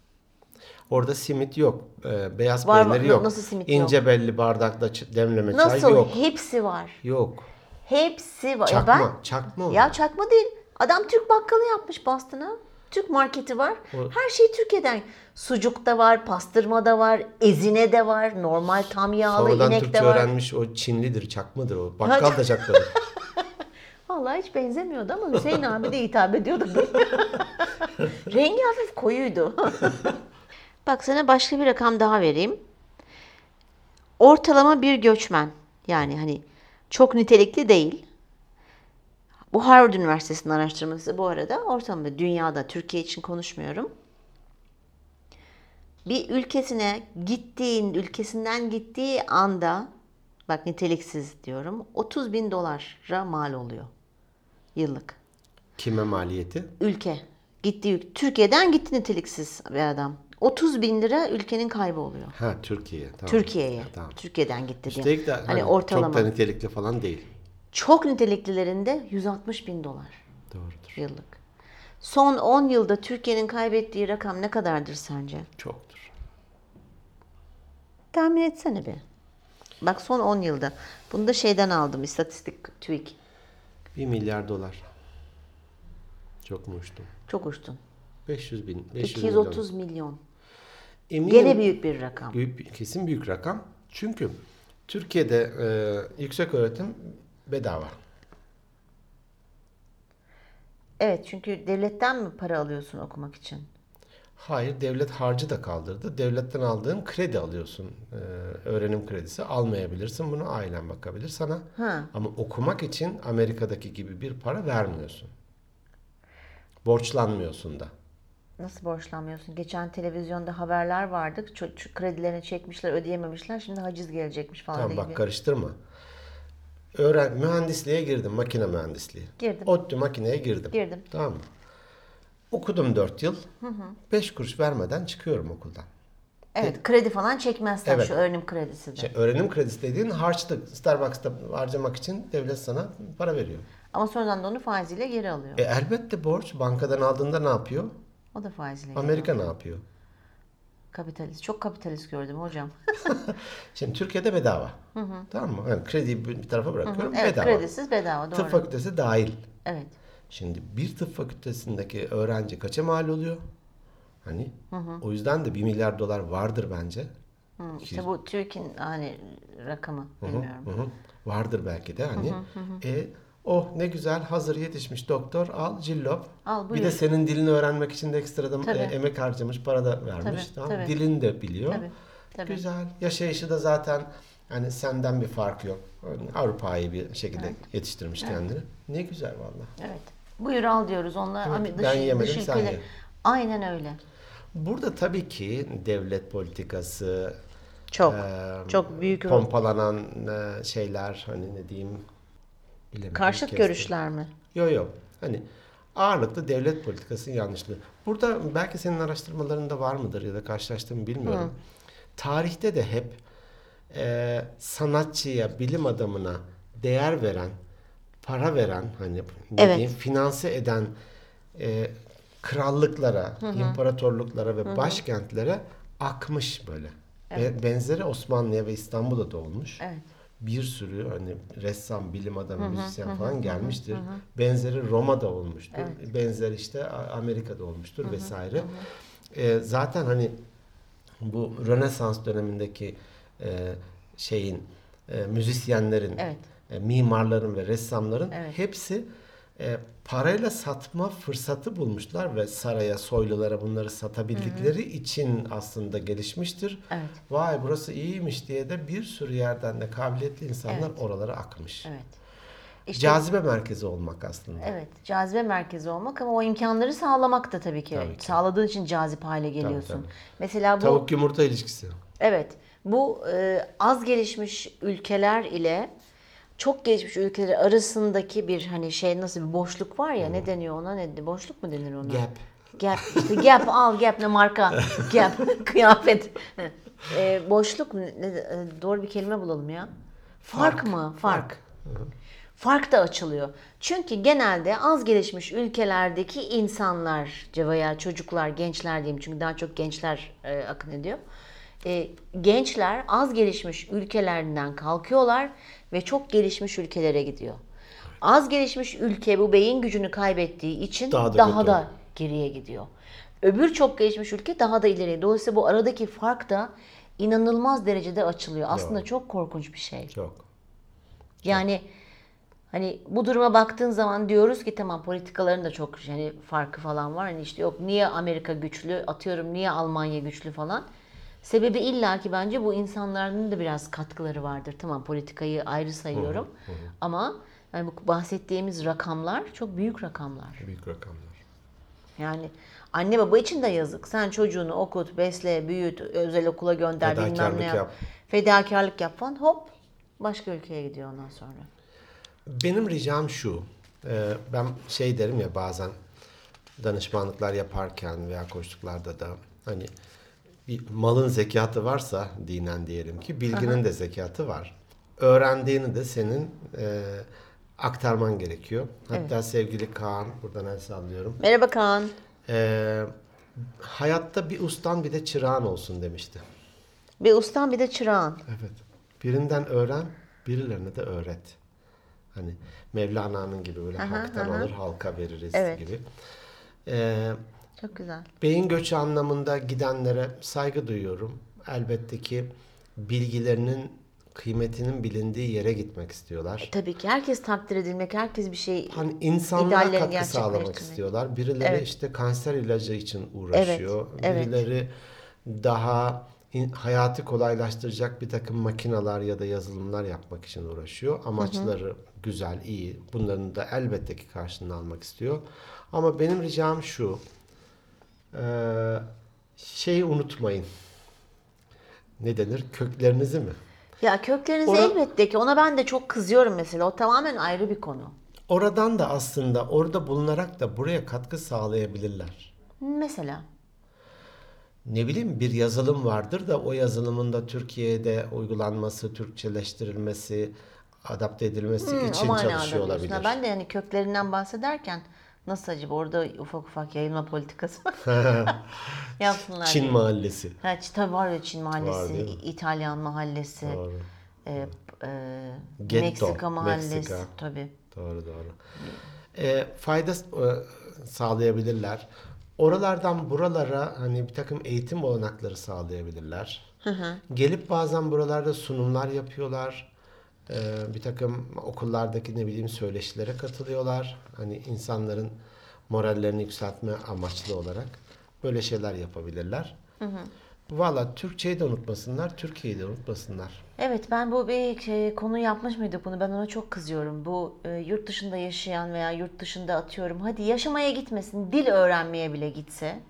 Speaker 2: Orada simit yok. Ee, beyaz
Speaker 1: Var mı?
Speaker 2: peynir yok.
Speaker 1: Nasıl simit yok?
Speaker 2: İnce belli bardakla ç- demleme
Speaker 1: Nasıl?
Speaker 2: çay yok.
Speaker 1: Hepsi var.
Speaker 2: Yok.
Speaker 1: Hepsi var. Ya
Speaker 2: Çakma.
Speaker 1: ben-
Speaker 2: Çakma o.
Speaker 1: Ya çakma değil. Adam Türk bakkalı yapmış Boston'a. Türk marketi var.
Speaker 2: O-
Speaker 1: Her şey Türkiye'den. Sucuk da var, pastırma da var, ezine de var, normal tam yağlı
Speaker 2: Sonradan
Speaker 1: inek
Speaker 2: Türkçe
Speaker 1: de var.
Speaker 2: öğrenmiş o Çinlidir, çakmadır o. Bakkal da çakmadır.
Speaker 1: Ha, Vallahi hiç benzemiyordu ama Hüseyin abi de hitap ediyordu. Rengi hafif koyuydu. Bak sana başka bir rakam daha vereyim. Ortalama bir göçmen. Yani hani çok nitelikli değil. Bu Harvard Üniversitesi'nin araştırması bu arada. Ortalama dünyada, Türkiye için konuşmuyorum. Bir ülkesine gittiğin, ülkesinden gittiği anda bak niteliksiz diyorum 30 bin dolara mal oluyor yıllık.
Speaker 2: Kime maliyeti?
Speaker 1: Ülke. Gittiği, Türkiye'den gitti niteliksiz bir adam. 30 bin lira ülkenin kaybı oluyor.
Speaker 2: Ha Türkiye. Tamam.
Speaker 1: Türkiye'ye.
Speaker 2: Ha, Tamam.
Speaker 1: Türkiye'den gitti diye.
Speaker 2: Üstelik de
Speaker 1: hani,
Speaker 2: hani
Speaker 1: ortalama.
Speaker 2: çok da nitelikli falan değil.
Speaker 1: Çok niteliklilerinde 160 bin dolar
Speaker 2: Doğrudur.
Speaker 1: yıllık. Son 10 yılda Türkiye'nin kaybettiği rakam ne kadardır sence?
Speaker 2: Çoktur.
Speaker 1: Tahmin etsene bir. Bak son 10 yılda. Bunu da şeyden aldım istatistik TÜİK.
Speaker 2: 1 milyar dolar. Çok mu uçtum?
Speaker 1: Çok uçtun.
Speaker 2: 500 bin. 500 milyon.
Speaker 1: 230 milyon.
Speaker 2: Eminim
Speaker 1: Gene büyük bir rakam.
Speaker 2: büyük- kesin büyük rakam. Çünkü Türkiye'de e, yüksek öğretim bedava.
Speaker 1: Evet çünkü devletten mi para alıyorsun okumak için?
Speaker 2: Hayır, devlet harcı da kaldırdı. Devletten aldığın kredi alıyorsun. Ee, öğrenim kredisi almayabilirsin. Bunu ailen bakabilir sana.
Speaker 1: Ha.
Speaker 2: Ama okumak için Amerika'daki gibi bir para vermiyorsun. Borçlanmıyorsun da.
Speaker 1: Nasıl borçlanmıyorsun? Geçen televizyonda haberler vardı. Ço- ço- kredilerini çekmişler, ödeyememişler. Şimdi haciz gelecekmiş falan
Speaker 2: Tamam
Speaker 1: diye.
Speaker 2: bak karıştırma. Öğren mühendisliğe girdim, makine mühendisliği.
Speaker 1: Girdim.
Speaker 2: ODTÜ makineye girdim.
Speaker 1: Girdim.
Speaker 2: Tamam mı? Okudum 4 yıl. 5 kuruş vermeden çıkıyorum okuldan.
Speaker 1: Evet, kredi falan çekmezsen
Speaker 2: Evet.
Speaker 1: şu öğrenim kredisi de.
Speaker 2: Şey, öğrenim kredisi dediğin harçlık. Starbucks'ta harcamak için devlet sana para veriyor.
Speaker 1: Ama sonradan da onu faiziyle geri alıyor.
Speaker 2: E elbette borç bankadan aldığında ne yapıyor?
Speaker 1: O da faiziyle geri
Speaker 2: Amerika ne yapıyor?
Speaker 1: Kapitalist. Çok kapitalist gördüm hocam.
Speaker 2: Şimdi Türkiye'de bedava. Tamam mı? Yani krediyi bir bir tarafa bırakıyorum.
Speaker 1: evet,
Speaker 2: bedava.
Speaker 1: kredisiz bedava. Doğru.
Speaker 2: Tıp fakültesi dahil.
Speaker 1: Evet.
Speaker 2: Şimdi bir tıp fakültesindeki öğrenci kaça mal oluyor? Hani o yüzden de 1 milyar dolar vardır bence.
Speaker 1: Hı, işte bu TÜİK'in hani rakamı bilmiyorum.
Speaker 2: Şey- Hı hı. Vardır belki de hani. E, oh ne güzel hazır yetişmiş doktor al cillop.
Speaker 1: Al,
Speaker 2: bir
Speaker 1: buyur.
Speaker 2: de senin dilini öğrenmek için de ekstradan
Speaker 1: Tabii.
Speaker 2: e, emek harcamış para da vermiş.
Speaker 1: Tabii,
Speaker 2: tamam. mı?
Speaker 1: tabii.
Speaker 2: Dilini de biliyor.
Speaker 1: Tabii. Tabii.
Speaker 2: Güzel. Yaşayışı da zaten hani senden bir fark yok. Yani Avrupa'yı bir şekilde yetiştirmiş kendini. Ne güzel valla.
Speaker 1: Evet. Buyur al diyoruz onlar.
Speaker 2: Evet,
Speaker 1: Ama dış,
Speaker 2: ben yemedim,
Speaker 1: dış
Speaker 2: sen
Speaker 1: ülkeler-
Speaker 2: ye.
Speaker 1: Aynen öyle.
Speaker 2: Burada tabii ki devlet politikası,
Speaker 1: Çok.
Speaker 2: eee,
Speaker 1: çok büyük bir-
Speaker 2: pompalanan eee, şeyler hani ne diyeyim bilemedim,
Speaker 1: Karşıt
Speaker 2: kestim.
Speaker 1: görüşler mi?
Speaker 2: Yok yok. Hani ağırlıklı devlet politikasının yanlışlığı. Burada belki senin araştırmalarında var mıdır ya da karşılaştığımı bilmiyorum. Tarihte de hep e, sanatçıya, bilim adamına değer veren, para veren hani ne
Speaker 1: Evet.
Speaker 2: diyeyim, finanse eden e, krallıklara, imparatorluklara ve başkentlere akmış böyle. Ve Benzeri Osmanlı'ya ve İstanbul'da da olmuş
Speaker 1: Evet.
Speaker 2: bir sürü hani ressam, bilim adamı, müzisyen falan gelmiştir. Benzeri Roma'da olmuştur. Benzeri işte A- Amerika'da olmuştur vesaire. Ee, zaten hani bu Rönesans dönemindeki e, şeyin e, müzisyenlerin,
Speaker 1: Evet.
Speaker 2: e, mimarların ve ressamların
Speaker 1: Evet.
Speaker 2: hepsi e, parayla satma fırsatı bulmuşlar ve saraya, soylulara bunları satabildikleri için aslında gelişmiştir.
Speaker 1: Evet.
Speaker 2: Vay burası iyiymiş diye de bir sürü yerden de kabiliyetli insanlar oralara akmış.
Speaker 1: Evet. İşte
Speaker 2: Cazibe merkezi olmak aslında.
Speaker 1: evet cazibe merkezi olmak ama o imkanları sağlamak da tabii ki.
Speaker 2: Tabii ki.
Speaker 1: Sağladığın için cazip hale geliyorsun.
Speaker 2: tabii.
Speaker 1: Mesela bu
Speaker 2: Tavuk yumurta ilişkisi.
Speaker 1: Evet. Bu e, az gelişmiş ülkeler ile çok gelişmiş ülkeler arasındaki bir hani şey nasıl bir boşluk var ya ne deniyor ona ne boşluk mu denir ona?
Speaker 2: Gap.
Speaker 1: Gap işte gap al gap ne marka gap kıyafet. E, boşluk mu? Ne- e, doğru bir kelime bulalım ya. Fark, mı? Fark. Fark da açılıyor. Çünkü genelde az gelişmiş ülkelerdeki insanlar veya çocuklar, gençler diyeyim çünkü daha çok gençler e, akın ediyor. E, gençler az gelişmiş ülkelerinden kalkıyorlar ve çok gelişmiş ülkelere gidiyor. Az gelişmiş ülke bu beyin gücünü kaybettiği için
Speaker 2: Daha
Speaker 1: daha
Speaker 2: da
Speaker 1: da,
Speaker 2: kötü.
Speaker 1: geriye gidiyor. Öbür çok gelişmiş ülke daha da ileriye. Dolayısıyla bu aradaki fark da inanılmaz derecede açılıyor. Aslında çok korkunç bir şey.
Speaker 2: Çok.
Speaker 1: Yani Hani bu duruma baktığın zaman diyoruz ki tamam politikaların da çok hani farkı falan var. Hani işte yok niye Amerika güçlü atıyorum niye Almanya güçlü falan. Sebebi illaki bence bu insanların da biraz katkıları vardır. Tamam politikayı ayrı sayıyorum ama yani bu bahsettiğimiz rakamlar çok büyük rakamlar.
Speaker 2: Büyük rakamlar.
Speaker 1: Yani anne baba için de yazık. Sen çocuğunu okut, besle, büyüt, özel okula gönder, bilmem
Speaker 2: Fedakarlık
Speaker 1: ne yap.
Speaker 2: yap.
Speaker 1: Fedakarlık yap falan. Hop başka ülkeye gidiyor ondan sonra.
Speaker 2: Benim ricam şu. e, Ben şey derim ya bazen danışmanlıklar yaparken veya koştuklarda da hani bir malın zekatı varsa dinen diyelim ki bilginin de zekatı var. Öğrendiğini de senin e, aktarman gerekiyor. Hatta sevgili Kaan buradan el sallıyorum.
Speaker 1: Merhaba Kaan.
Speaker 2: E, hayatta bir ustan bir de çırağın olsun demişti.
Speaker 1: Bir ustan bir de çırağın.
Speaker 2: Evet. Birinden öğren, birilerine de öğret. Hani Mevlana'nın gibi böyle halktan alır halka veririz
Speaker 1: Evet.
Speaker 2: gibi. Ee,
Speaker 1: Çok güzel.
Speaker 2: beyin göçü anlamında gidenlere saygı duyuyorum. Elbette ki bilgilerinin kıymetinin bilindiği yere gitmek istiyorlar.
Speaker 1: Tabii ki herkes takdir edilmek, herkes bir şey
Speaker 2: Hani insanlara
Speaker 1: İdeallerini
Speaker 2: katkı sağlamak
Speaker 1: gerçekleştirmek.
Speaker 2: istiyorlar. Birileri işte kanser ilacı için uğraşıyor.
Speaker 1: evet.
Speaker 2: Birileri daha in- hayatı kolaylaştıracak bir takım makinalar ya da yazılımlar yapmak için uğraşıyor. Amaçları güzel, iyi. Bunların da elbette ki karşılığını almak istiyor. Ama benim ricam şu. Ee, şeyi unutmayın. Ne denir? Köklerinizi mi?
Speaker 1: Ya kökleriniz
Speaker 2: Ora-
Speaker 1: elbette ki ona ben de çok kızıyorum mesela. O tamamen ayrı bir konu.
Speaker 2: Oradan da aslında orada bulunarak da buraya katkı sağlayabilirler.
Speaker 1: Mesela
Speaker 2: ne bileyim bir yazılım vardır da o yazılımın da Türkiye'de uygulanması, Türkçeleştirilmesi, adapte edilmesi
Speaker 1: Hı,
Speaker 2: için
Speaker 1: o manada
Speaker 2: çalışıyor
Speaker 1: diyorsun. Ha,
Speaker 2: olabilir.
Speaker 1: Ben de yani köklerinden bahsederken nasıl acaba orada ufak ufak yayılma politikası yapsınlar.
Speaker 2: Çin mahallesi.
Speaker 1: Ha, Ç- tabii var ya Çin mahallesi,
Speaker 2: değil mi?
Speaker 1: İtalyan mahallesi,
Speaker 2: Doğru.
Speaker 1: e, e,
Speaker 2: Ghetto,
Speaker 1: Meksika mahallesi
Speaker 2: Meksika.
Speaker 1: tabii.
Speaker 2: Doğru doğru. E, fayda s- e, sağlayabilirler. Oralardan buralara hani bir takım eğitim olanakları sağlayabilirler. Gelip bazen buralarda sunumlar yapıyorlar. E, bir takım okullardaki ne bileyim söyleşilere katılıyorlar. Hani insanların morallerini yükseltme amaçlı olarak böyle şeyler yapabilirler. Valla Türkçeyi de unutmasınlar, Türkiye'yi de unutmasınlar.
Speaker 1: Evet ben bu bir şey, konu yapmış mıydık bunu ben ona çok kızıyorum. Bu e, yurt dışında yaşayan veya yurt dışında atıyorum hadi yaşamaya gitmesin dil öğrenmeye bile gitse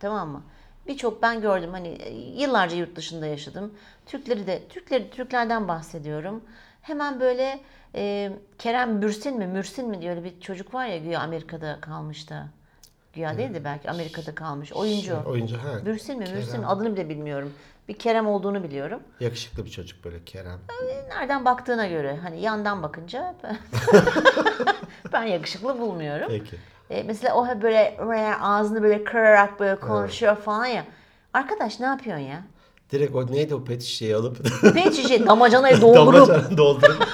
Speaker 1: tamam mı? Birçok ben gördüm hani e, yıllarca yurt dışında yaşadım. Türkleri de Türkleri Türklerden bahsediyorum. Hemen böyle e, Kerem Bürsin mi Mürsin mi diye öyle bir çocuk var ya güya Amerika'da kalmış da. Güya değil de belki Amerika'da kalmış oyuncu.
Speaker 2: Oyuncu ha.
Speaker 1: Bürsin mi Mürsin mi
Speaker 2: Şey, Kerem.
Speaker 1: adını bile bilmiyorum. Bir Kerem olduğunu biliyorum.
Speaker 2: Yakışıklı bir çocuk böyle Kerem.
Speaker 1: Nereden baktığına göre hani yandan bakınca ben yakışıklı bulmuyorum.
Speaker 2: Peki.
Speaker 1: E, mesela o hep böyle "Re," ağzını böyle kırarak böyle konuşuyor falan ya. Arkadaş ne yapıyorsun ya?
Speaker 2: Direkt o neydi o pet şişeyi alıp
Speaker 1: Pet şişe damacanayı doldurup
Speaker 2: damacana doldurup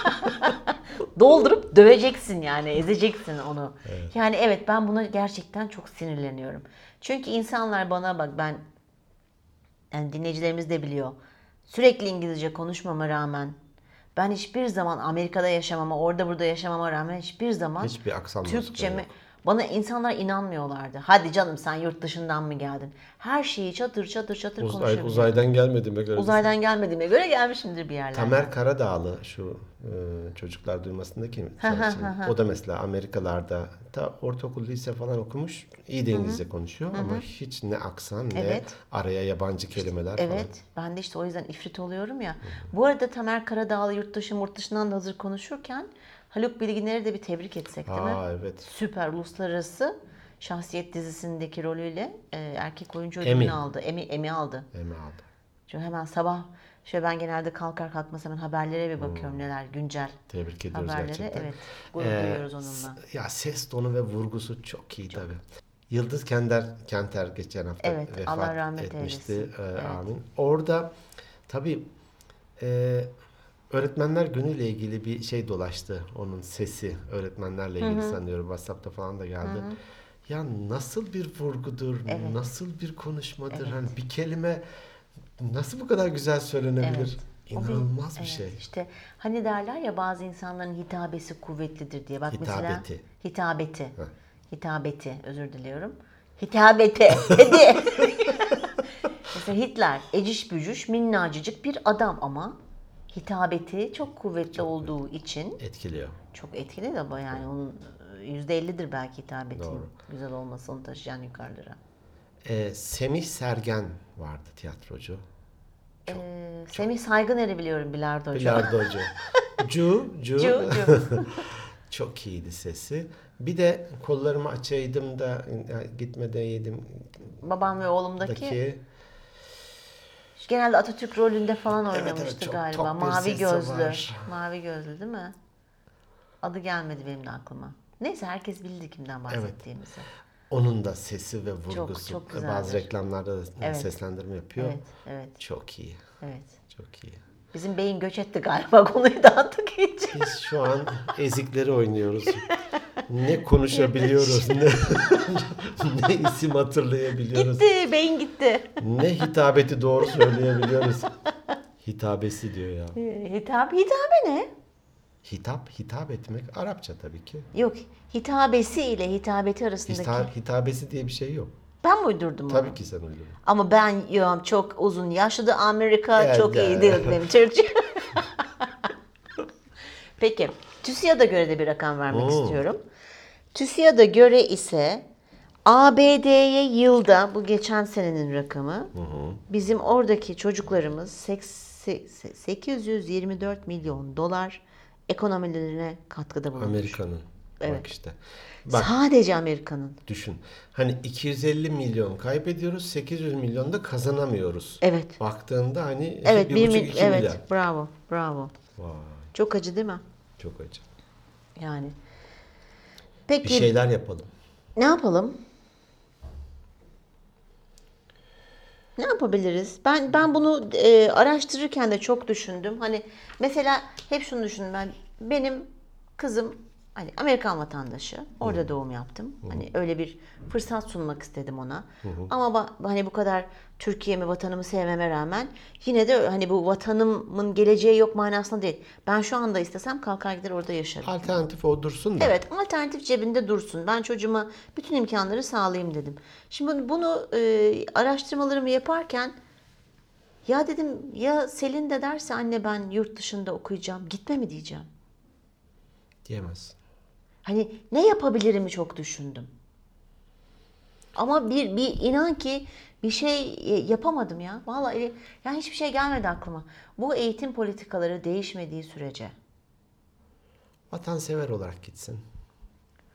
Speaker 1: doldurup döveceksin yani ezeceksin onu. Yani evet ben buna gerçekten çok sinirleniyorum. Çünkü insanlar bana bak ben yani dinleyicilerimiz de biliyor. Sürekli İngilizce konuşmama rağmen ben hiçbir zaman Amerika'da yaşamama, orada burada yaşamama rağmen hiçbir zaman
Speaker 2: hiçbir aksan
Speaker 1: Türkçe
Speaker 2: bozukluğu
Speaker 1: mi?
Speaker 2: yok.
Speaker 1: Bana insanlar inanmıyorlardı. Hadi canım sen yurt dışından mı geldin? Her şeyi çatır çatır çatır
Speaker 2: Uzay-
Speaker 1: konuşabiliyorum.
Speaker 2: uzaydan gelmediğime göre.
Speaker 1: Uzaydan gelmediğime göre gelmişimdir bir yerlere.
Speaker 2: Tamer Karadağlı şu e, çocuklar duymasındaki mi? o da mesela Amerikalarda ta ortaokul lise falan okumuş. iyi de İngilizce konuşuyor ama hiç ne aksan ne
Speaker 1: Evet.
Speaker 2: araya yabancı kelimeler falan.
Speaker 1: Evet. Ben de işte o yüzden ifrit oluyorum ya. Bu arada Tamer Karadağlı yurt dışı murt dışından da hazır konuşurken Haluk Bilginer'i de bir tebrik etsek değil mi?
Speaker 2: Aa evet.
Speaker 1: Süper uluslararası şahsiyet dizisindeki rolüyle e, erkek oyuncu
Speaker 2: Emmy.
Speaker 1: ödülünü aldı. Emi Emi aldı.
Speaker 2: Emi aldı.
Speaker 1: Çünkü hemen sabah şöyle ben genelde kalkar kalkmaz hemen haberlere bir bakıyorum
Speaker 2: Hmm.
Speaker 1: neler güncel
Speaker 2: Tebrik ediyoruz
Speaker 1: haberlere.
Speaker 2: gerçekten.
Speaker 1: Evet. Gurur
Speaker 2: Ee,
Speaker 1: duyuyoruz onunla.
Speaker 2: s- Ya ses tonu ve vurgusu çok iyi tabii. Yıldız Kender Kenter geçen hafta
Speaker 1: Evet,
Speaker 2: vefat
Speaker 1: Allah rahmet
Speaker 2: etmişti.
Speaker 1: eylesin.
Speaker 2: Ee, Amin. Orada tabii e, öğretmenler günüyle ilgili bir şey dolaştı. Onun sesi öğretmenlerle ilgili sanıyorum. WhatsApp'ta falan da geldi. Ya nasıl bir vurgudur, nasıl bir konuşmadır. Hani bir kelime nasıl bu kadar güzel söylenebilir?
Speaker 1: Evet.
Speaker 2: İnanılmaz bir
Speaker 1: Evet,
Speaker 2: şey.
Speaker 1: İşte hani derler ya bazı insanların hitabesi kuvvetlidir diye. Bak mesela
Speaker 2: Hitabeti.
Speaker 1: hitabeti. Hitabeti özür diliyorum. Hitabeti dedi. mesela Hitler eciş bücüş minnacıcık bir adam ama hitabeti çok kuvvetli olduğu için
Speaker 2: Etkiliyor.
Speaker 1: çok etkili de bu yani onun %50'dir belki hitabetin
Speaker 2: Doğru.
Speaker 1: güzel olmasını taşıyan yukarılara.
Speaker 2: Ee, Semih Sergen vardı tiyatrocu.
Speaker 1: Ee, Semih Saygıner'i biliyorum bilardo hocam.
Speaker 2: Bilardocu. Cu,
Speaker 1: Cu,
Speaker 2: cu.
Speaker 1: cu.
Speaker 2: Çok iyiydi sesi. Bir de kollarımı açaydım da gitmedeydim.
Speaker 1: Babam ve oğlumdaki
Speaker 2: Daki
Speaker 1: Genelde Atatürk rolünde falan
Speaker 2: evet,
Speaker 1: oynamıştı
Speaker 2: çok
Speaker 1: galiba.
Speaker 2: tok bir
Speaker 1: Mavi
Speaker 2: sesi
Speaker 1: gözlü.
Speaker 2: var.
Speaker 1: Mavi gözlü değil mi? Adı gelmedi benim de aklıma. Neyse herkes bildi kimden bahsettiğimizi.
Speaker 2: onun da sesi ve vurgusu.
Speaker 1: çok güzeldir.
Speaker 2: Bazı reklamlarda da
Speaker 1: Evet.
Speaker 2: seslendirme yapıyor.
Speaker 1: Evet, evet,
Speaker 2: Çok iyi.
Speaker 1: evet.
Speaker 2: Çok iyi.
Speaker 1: Bizim beyin göç etti galiba konuyu dağıttık iyice.
Speaker 2: Biz şu an ezikleri oynuyoruz. Ne konuşabiliyoruz, ne, ne isim hatırlayabiliyoruz,
Speaker 1: Gitti, beyin gitti.
Speaker 2: ne hitabeti doğru söyleyebiliyoruz. Hitabesi diyor ya.
Speaker 1: Ee, Hitap, hitabe ne?
Speaker 2: Hitap, hitap etmek Arapça tabii ki.
Speaker 1: Yok, hitabesi ile hitabeti arasındaki.
Speaker 2: Hita- hitabesi diye bir şey yok.
Speaker 1: Ben mi uydurdum onu?
Speaker 2: Tabii ki sen öyle.
Speaker 1: Ama ben ya, çok uzun yaşlı da Amerika
Speaker 2: Evet,
Speaker 1: çok
Speaker 2: evet.
Speaker 1: iyi değil benim Churchill. Peki. TÜSİAD'a göre de bir rakam vermek
Speaker 2: Oo.
Speaker 1: istiyorum. TÜSİAD'a göre ise ABD'ye yılda bu geçen senenin rakamı bizim oradaki çocuklarımız seks- se- 824 milyon dolar ekonomilerine katkıda bulundu.
Speaker 2: Amerika'nın. Bak işte. Bak
Speaker 1: Sadece Amerika'nın.
Speaker 2: düşün. Hani 250 milyon kaybediyoruz, 800 milyon da kazanamıyoruz.
Speaker 1: Evet.
Speaker 2: Baktığında hani
Speaker 1: Evet,
Speaker 2: 1,5-2
Speaker 1: bir mil-
Speaker 2: milyar.
Speaker 1: evet. Bravo. Bravo.
Speaker 2: Vay,
Speaker 1: Çok acı değil mi?
Speaker 2: çok acı.
Speaker 1: Yani.
Speaker 2: Bir şey-
Speaker 1: Peki
Speaker 2: şeyler yapalım.
Speaker 1: ne yapalım? Ne yapabiliriz? Ben ben bunu e, araştırırken de çok düşündüm. Hani mesela hep şunu düşündüm ben. Benim kızım hani Amerikan vatandaşı. Orada doğum yaptım. Hani öyle bir fırsat sunmak istedim ona. Ama ba- hani bu kadar Türkiye'mi, vatanımı sevmeme rağmen yine de hani bu vatanımın geleceği yok manasında değil. Ben şu anda istesem kalkar gider orada yaşarım.
Speaker 2: Alternatif o dursun da.
Speaker 1: Evet alternatif cebinde dursun. Ben çocuğuma bütün imkanları sağlayayım dedim. Şimdi bunu- bunu e, araştırmalarımı yaparken ya dedim ya Selin de derse anne ben yurt dışında okuyacağım gitme mi diyeceğim.
Speaker 2: Diyemez.
Speaker 1: Hani ne yapabilirimi çok düşündüm. Ama bir, bir inan ki bir şey e, yapamadım ya. Vallahi e, yani hiçbir şey gelmedi aklıma. Bu eğitim politikaları değişmediği sürece.
Speaker 2: Vatansever olarak gitsin.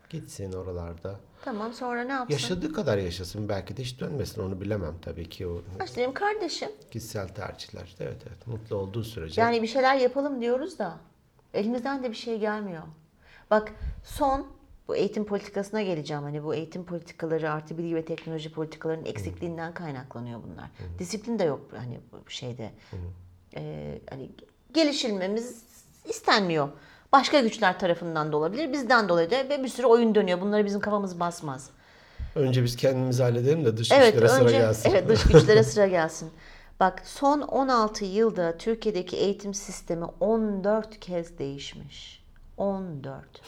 Speaker 2: Gitsin oralarda.
Speaker 1: Tamam sonra ne yapsın?
Speaker 2: Yaşadığı kadar yaşasın. Belki de hiç dönmesin. Onu bilemem tabii ki. O
Speaker 1: Başlayayım kardeşim.
Speaker 2: kişisel tercihler. Evet evet. Mutlu olduğu sürece.
Speaker 1: Yani bir şeyler yapalım diyoruz da elimizden de bir şey gelmiyor. Bak son bu eğitim politikasına geleceğim. Hani bu eğitim politikaları artı bilgi ve teknoloji politikalarının eksikliğinden kaynaklanıyor bunlar. Disiplin de yok hani bu şeyde. Ee, hani gelişilmemiz istenmiyor. Başka güçler tarafından da olabilir, bizden dolayı da ve bir sürü oyun dönüyor. Bunları bizim kafamız basmaz.
Speaker 2: Önce biz kendimizi halledelim de dış
Speaker 1: Evet,
Speaker 2: işlere
Speaker 1: önce,
Speaker 2: sıra gelsin.
Speaker 1: Evet dış güçlere sıra gelsin. Bak son 16 yılda Türkiye'deki eğitim sistemi 14 kez değişmiş. 14.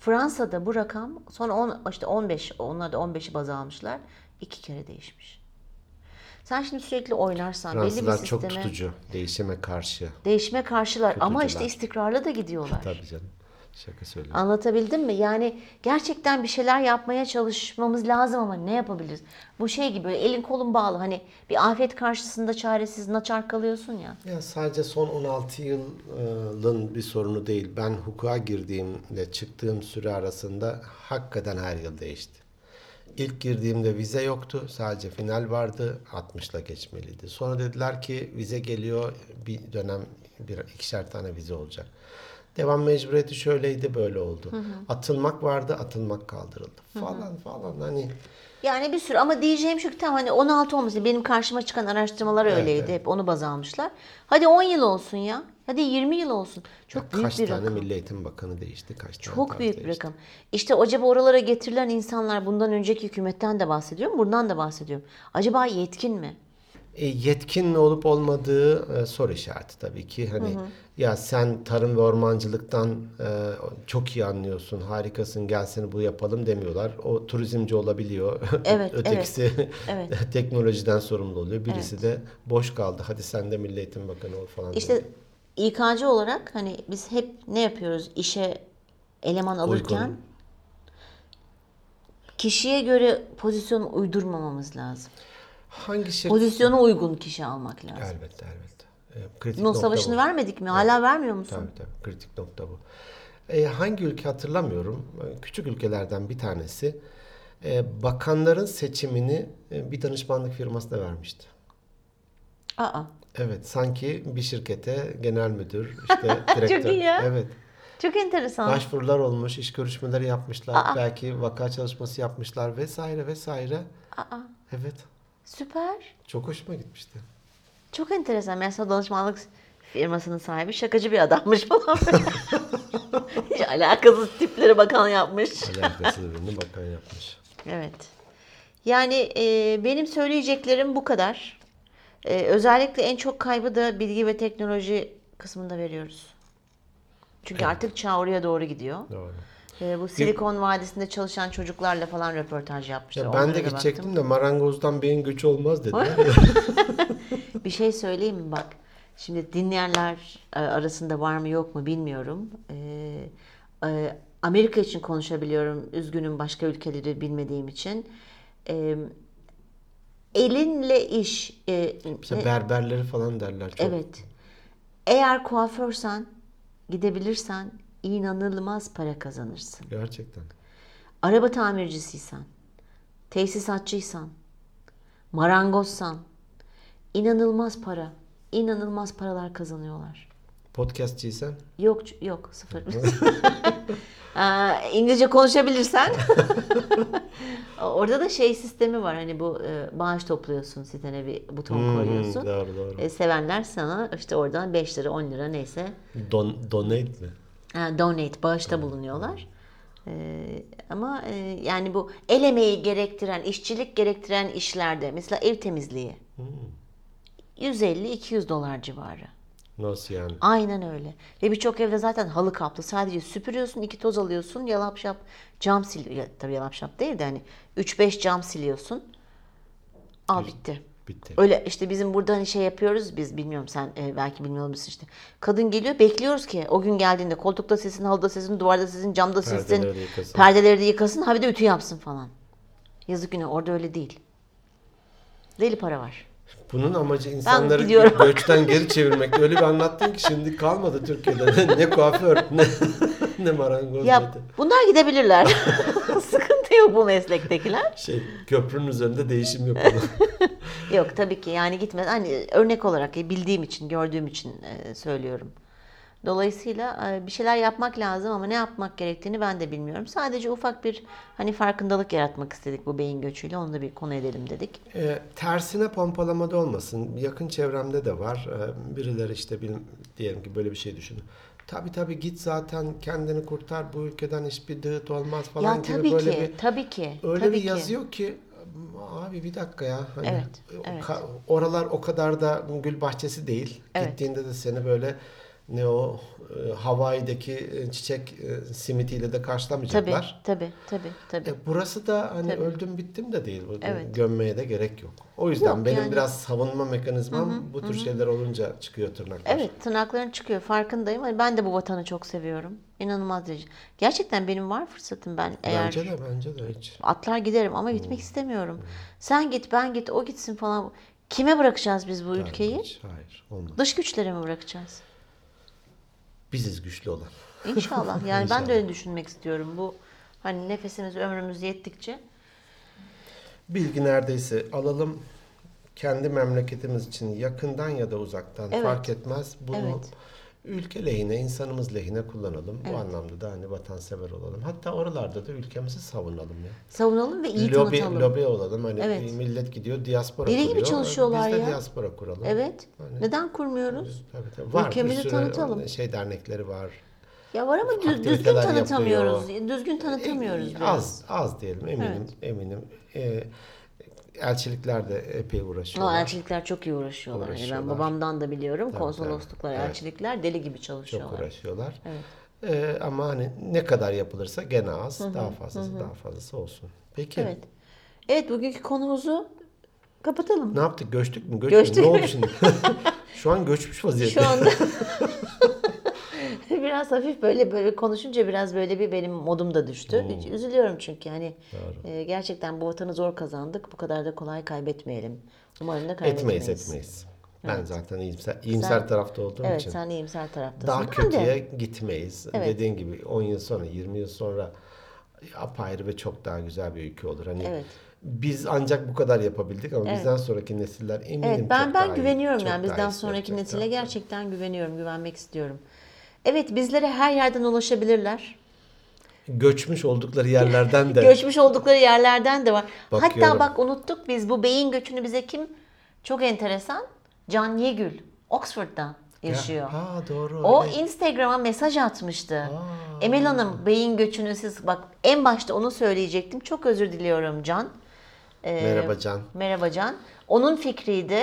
Speaker 1: Fransa'da bu rakam son 10 işte 15 onlar da 15'i baz almışlar. iki kere değişmiş. Sen şimdi sürekli oynarsan belli bir
Speaker 2: Fransızlar çok
Speaker 1: sisteme
Speaker 2: tutucu. Değişime karşı.
Speaker 1: değişme karşılar ama işte
Speaker 2: Tutucular.
Speaker 1: istikrarlı da gidiyorlar.
Speaker 2: Tabii canım. Şaka söylüyorum.
Speaker 1: Anlatabildim mi? Yani gerçekten bir şeyler yapmaya çalışmamız lazım ama ne yapabiliriz? Bu şey gibi elin kolun bağlı. Hani bir afet karşısında çaresiz naçar kalıyorsun ya.
Speaker 2: Ya sadece son 16 yılın bir sorunu değil. Ben hukuka girdiğimle çıktığım süre arasında hakikaten her yıl değişti. İlk girdiğimde vize yoktu. Sadece final vardı. 60'la geçmeliydi. Sonra dediler ki vize geliyor. Bir dönem bir ikişer tane vize olacak. Devam mecburiyeti şöyleydi böyle oldu. Atılmak vardı, atılmak kaldırıldı. Falan falan hani
Speaker 1: Yani bir sürü ama diyeceğim şu ki tam hani 16 olmasın. Benim karşıma çıkan araştırmalar öyleydi.
Speaker 2: evet.
Speaker 1: Hep onu baz almışlar. Hadi 10 yıl olsun ya. Hadi 20 yıl olsun. Çok büyük
Speaker 2: kaç
Speaker 1: bir
Speaker 2: tane
Speaker 1: rakam.
Speaker 2: Milli Eğitim Bakanı değişti, kaç tane
Speaker 1: Çok
Speaker 2: tarz
Speaker 1: büyük bir
Speaker 2: değişti.
Speaker 1: rakam. İşte acaba oralara getirilen insanlar bundan önceki hükümetten de bahsediyorum, bundan da bahsediyorum. Acaba yetkin mi?
Speaker 2: E, yetkin olup olmadığı e, soru işareti tabii ki. Hani ya sen tarım ve ormancılıktan e, çok iyi anlıyorsun, harikasın, gel seni bu yapalım demiyorlar. O turizmci olabiliyor.
Speaker 1: Evet,
Speaker 2: Ötekisi
Speaker 1: evet.
Speaker 2: teknolojiden sorumlu oluyor. Birisi de boş kaldı. Hadi sen de Milli Eğitim Bakanı ol falan.
Speaker 1: İşte
Speaker 2: diyor.
Speaker 1: İK'cı olarak hani biz hep ne yapıyoruz işe eleman alırken
Speaker 2: Uygun.
Speaker 1: kişiye göre pozisyon uydurmamamız lazım.
Speaker 2: Hangi şirket?
Speaker 1: Pozisyona uygun kişi almak lazım.
Speaker 2: Elbette elbette. E, kritik
Speaker 1: Bunun
Speaker 2: nokta
Speaker 1: savaşını
Speaker 2: bu.
Speaker 1: vermedik mi? Hala vermiyor musun?
Speaker 2: Tabii tabii. Kritik nokta bu. E, hangi ülke hatırlamıyorum. E, Küçük ülkelerden bir tanesi e, bakanların seçimini e, bir danışmanlık firmasına vermişti.
Speaker 1: Aa.
Speaker 2: Evet, sanki bir şirkete genel müdür, işte direktör.
Speaker 1: iyi ya.
Speaker 2: Evet.
Speaker 1: Çok enteresan.
Speaker 2: Başvurular olmuş, iş görüşmeleri yapmışlar,
Speaker 1: Aa.
Speaker 2: belki vaka çalışması yapmışlar vesaire vesaire.
Speaker 1: Aa.
Speaker 2: Evet.
Speaker 1: Süper.
Speaker 2: Çok hoşuma gitmişti.
Speaker 1: Çok enteresan. Mesela danışmanlık firmasının sahibi şakacı bir adammış falan. böyle. Hiç alakasız tiplere bakan yapmış.
Speaker 2: Alakasız ürünü bakan yapmış.
Speaker 1: Evet. Yani e, benim söyleyeceklerim bu kadar. E, özellikle en çok kaybı da bilgi ve teknoloji kısmında veriyoruz. Çünkü artık çağ oraya doğru gidiyor.
Speaker 2: Doğru.
Speaker 1: E, bu Silikon Vadisi'nde çalışan çocuklarla falan röportaj yapmışlar.
Speaker 2: Ya ben
Speaker 1: Onlara
Speaker 2: de
Speaker 1: da
Speaker 2: gidecektim
Speaker 1: baktım.
Speaker 2: de marangozdan beyin gücü olmaz dedi.
Speaker 1: Bir şey söyleyeyim mi bak. Şimdi dinleyenler e, arasında var mı yok mu bilmiyorum. E, e, Amerika için konuşabiliyorum. Üzgünüm başka ülkeleri bilmediğim için. E, elinle iş. e,
Speaker 2: İşte berberleri falan derler. Çok
Speaker 1: Evet. Eğer kuaförsen, gidebilirsen inanılmaz para kazanırsın.
Speaker 2: Gerçekten.
Speaker 1: Araba tamircisiysen, tesisatçıysan, marangozsan inanılmaz para, inanılmaz paralar kazanıyorlar.
Speaker 2: Podcastçiysen
Speaker 1: Yok ç- yok sıfır. Aa, İngilizce konuşabilirsen. Orada da şey sistemi var hani bu e, bağış topluyorsun sitene bir buton koyuyorsun.
Speaker 2: Hmm, doğru, doğru.
Speaker 1: E, sevenler sana işte oradan 5 lira 10 lira neyse
Speaker 2: don, donate mi?
Speaker 1: Ha, donate, bağışta bulunuyorlar. Ee, ama e, yani bu el emeği gerektiren, işçilik gerektiren işlerde mesela ev temizliği 150-200 dolar civarı.
Speaker 2: Nasıl yani?
Speaker 1: Aynen öyle. Ve birçok evde zaten halı kaplı. Sadece süpürüyorsun, iki toz alıyorsun, yalap şap cam sil ya, tabii yalap şap değil de hani 3-5 cam siliyorsun. Al bitti.
Speaker 2: Bitti.
Speaker 1: Öyle işte bizim burada hani şey yapıyoruz biz bilmiyorum sen e, belki bilmiyor musun işte. Kadın geliyor bekliyoruz ki o gün geldiğinde koltukta silsin, halıda silsin, duvarda silsin, camda silsin,
Speaker 2: Perdeleri de yıkasın.
Speaker 1: perdeleri de yıkasın, ha bir de ütü yapsın falan. Yazık günah orada öyle değil. Deli para var.
Speaker 2: Bunun amacı insanları
Speaker 1: gidiyorum.
Speaker 2: göçten geri çevirmek. Öyle bir anlattın ki şimdi kalmadı Türkiye'de. ne kuaför ne, ne marangoz
Speaker 1: Ya
Speaker 2: dedi.
Speaker 1: bunlar gidebilirler. Sıkıntı yok bu meslektekiler.
Speaker 2: Şey köprünün üzerinde değişim yapalım.
Speaker 1: Yok tabii ki yani gitmez. Hani örnek olarak e, bildiğim için, gördüğüm için e, söylüyorum. Dolayısıyla e, bir şeyler yapmak lazım ama ne yapmak gerektiğini ben de bilmiyorum. Sadece ufak bir hani farkındalık yaratmak istedik bu beyin göçüyle. Onu da bir konu edelim dedik.
Speaker 2: E, tersine pompalamada olmasın. Yakın çevremde de var. E, birileri işte bil, diyelim ki böyle bir şey düşünün. Tabii tabii git zaten kendini kurtar. Bu ülkeden hiçbir dığıt olmaz falan
Speaker 1: ya
Speaker 2: gibi
Speaker 1: tabii
Speaker 2: böyle
Speaker 1: ki,
Speaker 2: bir
Speaker 1: tabii ki.
Speaker 2: Öyle
Speaker 1: tabii
Speaker 2: bir
Speaker 1: ki.
Speaker 2: yazıyor ki abi bir dakika ya. Hani
Speaker 1: Evet,
Speaker 2: o
Speaker 1: evet.
Speaker 2: ka- Oralar o kadar da gül bahçesi değil.
Speaker 1: Evet.
Speaker 2: Gittiğinde de seni böyle ne o e, Hawaii'deki e, çiçek e, simitiyle de
Speaker 1: Tabii,
Speaker 2: karşılamayacaklar.
Speaker 1: tabii, tabii, tabii.
Speaker 2: E, burası da hani
Speaker 1: Tabii.
Speaker 2: öldüm bittim de değil. Bu-
Speaker 1: Evet.
Speaker 2: Gömmeye de gerek yok. O yüzden
Speaker 1: Yok,
Speaker 2: benim
Speaker 1: yani-
Speaker 2: biraz savunma mekanizmam bu tır şeyler olunca çıkıyor tırnaklar.
Speaker 1: Evet tırnakların çıkıyor farkındayım. Hani Ben de bu vatanı çok seviyorum. İnanılmaz derece. Gerçekten benim var fırsatım ben eğer
Speaker 2: Bence de bence de hiç.
Speaker 1: Atlar giderim
Speaker 2: Hmm.
Speaker 1: ama gitmek istemiyorum. Sen git, ben git, o gitsin falan. Kime bırakacağız biz bu ülkeyi?
Speaker 2: Hiç, hayır olmaz.
Speaker 1: Dış güçlere mi bırakacağız?
Speaker 2: Biziz güçlü olan.
Speaker 1: İnşallah. Yani ben
Speaker 2: İnşallah.
Speaker 1: de öyle düşünmek istiyorum. Bu hani nefesimiz, ömrümüz yettikçe.
Speaker 2: Bilgi neredeyse alalım. Kendi memleketimiz için yakından ya da uzaktan
Speaker 1: Evet.
Speaker 2: fark etmez. Bunu
Speaker 1: Evet.
Speaker 2: ülke lehine, insanımız lehine kullanalım. Bu anlamda da hani vatansever olalım. Hatta oralarda da ülkemizi savunalım ya.
Speaker 1: Savunalım ve iyi
Speaker 2: lobi,
Speaker 1: tanıtalım.
Speaker 2: lobi olalım. Hani
Speaker 1: Evet.
Speaker 2: bir millet gidiyor diaspora
Speaker 1: Deli gibi
Speaker 2: kuruyor.
Speaker 1: çalışıyorlar
Speaker 2: Biz de
Speaker 1: ya.
Speaker 2: diaspora kuralım.
Speaker 1: Evet. Neden kurmuyoruz?
Speaker 2: Tabii, tabii. Var bir
Speaker 1: Ülkemizi
Speaker 2: sürü
Speaker 1: tanıtalım.
Speaker 2: şey dernekleri var.
Speaker 1: Ya var ama düz- düzgün
Speaker 2: Aktiviteler
Speaker 1: tanıtamıyoruz. Düzgün tanıtamıyoruz.
Speaker 2: E,
Speaker 1: biraz.
Speaker 2: Az az diyelim eminim eminim. E, elçilikler de epey
Speaker 1: Aa,
Speaker 2: uğraşıyorlar.
Speaker 1: elçilikler çok iyi uğraşıyorlar. Yani
Speaker 2: Uğraşıyorlar.
Speaker 1: ben babamdan da biliyorum.
Speaker 2: Tabii,
Speaker 1: Konsolosluklar,
Speaker 2: tabii. Evet.
Speaker 1: elçilikler deli gibi
Speaker 2: Çok
Speaker 1: çalışıyorlar.
Speaker 2: uğraşıyorlar.
Speaker 1: Evet.
Speaker 2: Ee, ama hani ne kadar yapılırsa gene az, daha fazlası daha fazlası olsun. Peki.
Speaker 1: Evet. Evet bugünkü konumuzu kapatalım.
Speaker 2: Ne yaptık? Göçtük mü? Göçtük.
Speaker 1: Göçtük.
Speaker 2: Ne oldu şimdi? Şu an göçmüş vaziyette.
Speaker 1: Şu anda biraz hafif böyle böyle konuşunca biraz böyle bir benim modum da düştü. Üzülüyorum çünkü hani e, gerçekten bu vatanı zor kazandık. Bu kadar da kolay kaybetmeyelim. Umarım da kaybetmeyiz.
Speaker 2: etmeyiz, etmeyiz. Ben zaten iyimser, iyimser tarafta olduğum
Speaker 1: Evet
Speaker 2: için.
Speaker 1: sen iyimser taraftasın.
Speaker 2: daha
Speaker 1: Ben de.
Speaker 2: kötüye gitmeyiz.
Speaker 1: Evet.
Speaker 2: Dediğin gibi 10 yıl sonra, 20 yıl sonra apayrı ve çok daha güzel bir ülke olur. Hani
Speaker 1: Evet.
Speaker 2: biz ancak bu kadar yapabildik ama bizden sonraki nesiller eminim
Speaker 1: Evet ben
Speaker 2: çok
Speaker 1: ben
Speaker 2: daha iyi-
Speaker 1: güveniyorum
Speaker 2: çok
Speaker 1: yani
Speaker 2: daha
Speaker 1: bizden
Speaker 2: iyisini
Speaker 1: sonraki
Speaker 2: yapacaklar.
Speaker 1: nesile gerçekten güveniyorum, güvenmek istiyorum. Evet bizlere her yerden ulaşabilirler.
Speaker 2: Göçmüş oldukları yerlerden de
Speaker 1: Göçmüş oldukları yerlerden de var. Hatta
Speaker 2: Bakıyorum.
Speaker 1: bak unuttuk biz bu beyin göçünü bize kim? Çok enteresan. Can Yegül Oxford'da yaşıyor.
Speaker 2: Ha doğru.
Speaker 1: O
Speaker 2: evet.
Speaker 1: Instagram'a mesaj atmıştı. Emel Hanım beyin göçünü siz bak en başta onu söyleyecektim. Çok özür diliyorum Can. Ee,
Speaker 2: Merhaba Can.
Speaker 1: Merhaba Can. Onun fikriydi.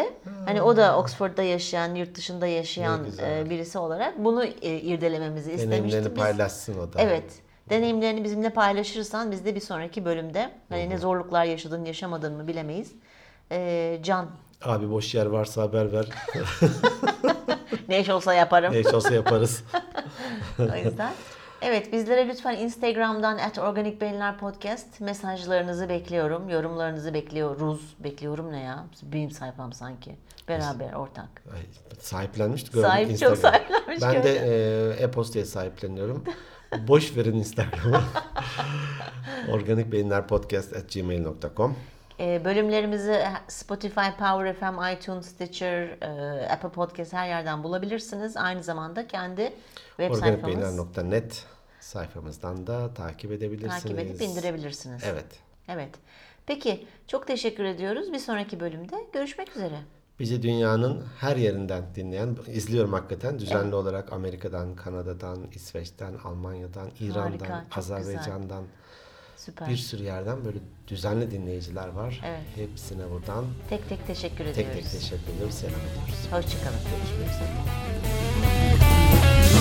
Speaker 1: Hani o da Oxford'da yaşayan, yurt dışında yaşayan
Speaker 2: Hmm. Ne güzel.
Speaker 1: e, birisi olarak bunu e, irdelememizi istemişti.
Speaker 2: Deneyimlerini
Speaker 1: Biz-
Speaker 2: paylaşsın o da.
Speaker 1: Evet. Deneyimlerini bizimle paylaşırsan biz de bir sonraki bölümde hani ne zorluklar yaşadın, yaşamadın mı bilemeyiz. Ee, Can
Speaker 2: Abi boş yer varsa haber ver.
Speaker 1: ne iş olsa yaparım.
Speaker 2: Eş olsa yaparız.
Speaker 1: o yüzden. Evet bizlere lütfen Instagram'dan at Organik Beyinler Podcast mesajlarınızı bekliyorum. Yorumlarınızı bekliyoruz. Bekliyorum ne ya? Benim sayfam sanki. Beraber ortak.
Speaker 2: Ay, sahiplenmiş gördüm
Speaker 1: Sahip çok
Speaker 2: Instagram.
Speaker 1: sahiplenmiş
Speaker 2: Ben de e, e-postaya sahipleniyorum. Boş verin Instagram'ı. Organik Beyinler Podcast at gmail.com
Speaker 1: Ee, bölümlerimizi Spotify, Power FM, iTunes, Stitcher, e, Apple Podcast her yerden bulabilirsiniz. Aynı zamanda kendi web sayfamız.
Speaker 2: Organikbeyinler.net sayfamızdan da takip edebilirsiniz.
Speaker 1: takip edip indirebilirsiniz.
Speaker 2: Evet.
Speaker 1: Evet. Peki çok teşekkür ediyoruz. Bir sonraki bölümde görüşmek üzere.
Speaker 2: Bizi dünyanın her yerinden dinleyen, izliyorum hakikaten düzenli olarak Amerika'dan, Kanada'dan, İsveç'ten, Almanya'dan, İran'dan,
Speaker 1: Harika, çok
Speaker 2: Azerbaycan'dan
Speaker 1: Süper.
Speaker 2: bir sürü yerden böyle düzenli dinleyiciler var.
Speaker 1: Evet.
Speaker 2: Hepsine buradan
Speaker 1: Tek tek teşekkür
Speaker 2: tek
Speaker 1: ediyoruz.
Speaker 2: tek teşekkür ediyoruz, selam ediyoruz.
Speaker 1: Hoşçakalın.
Speaker 2: Görüşmek üzere.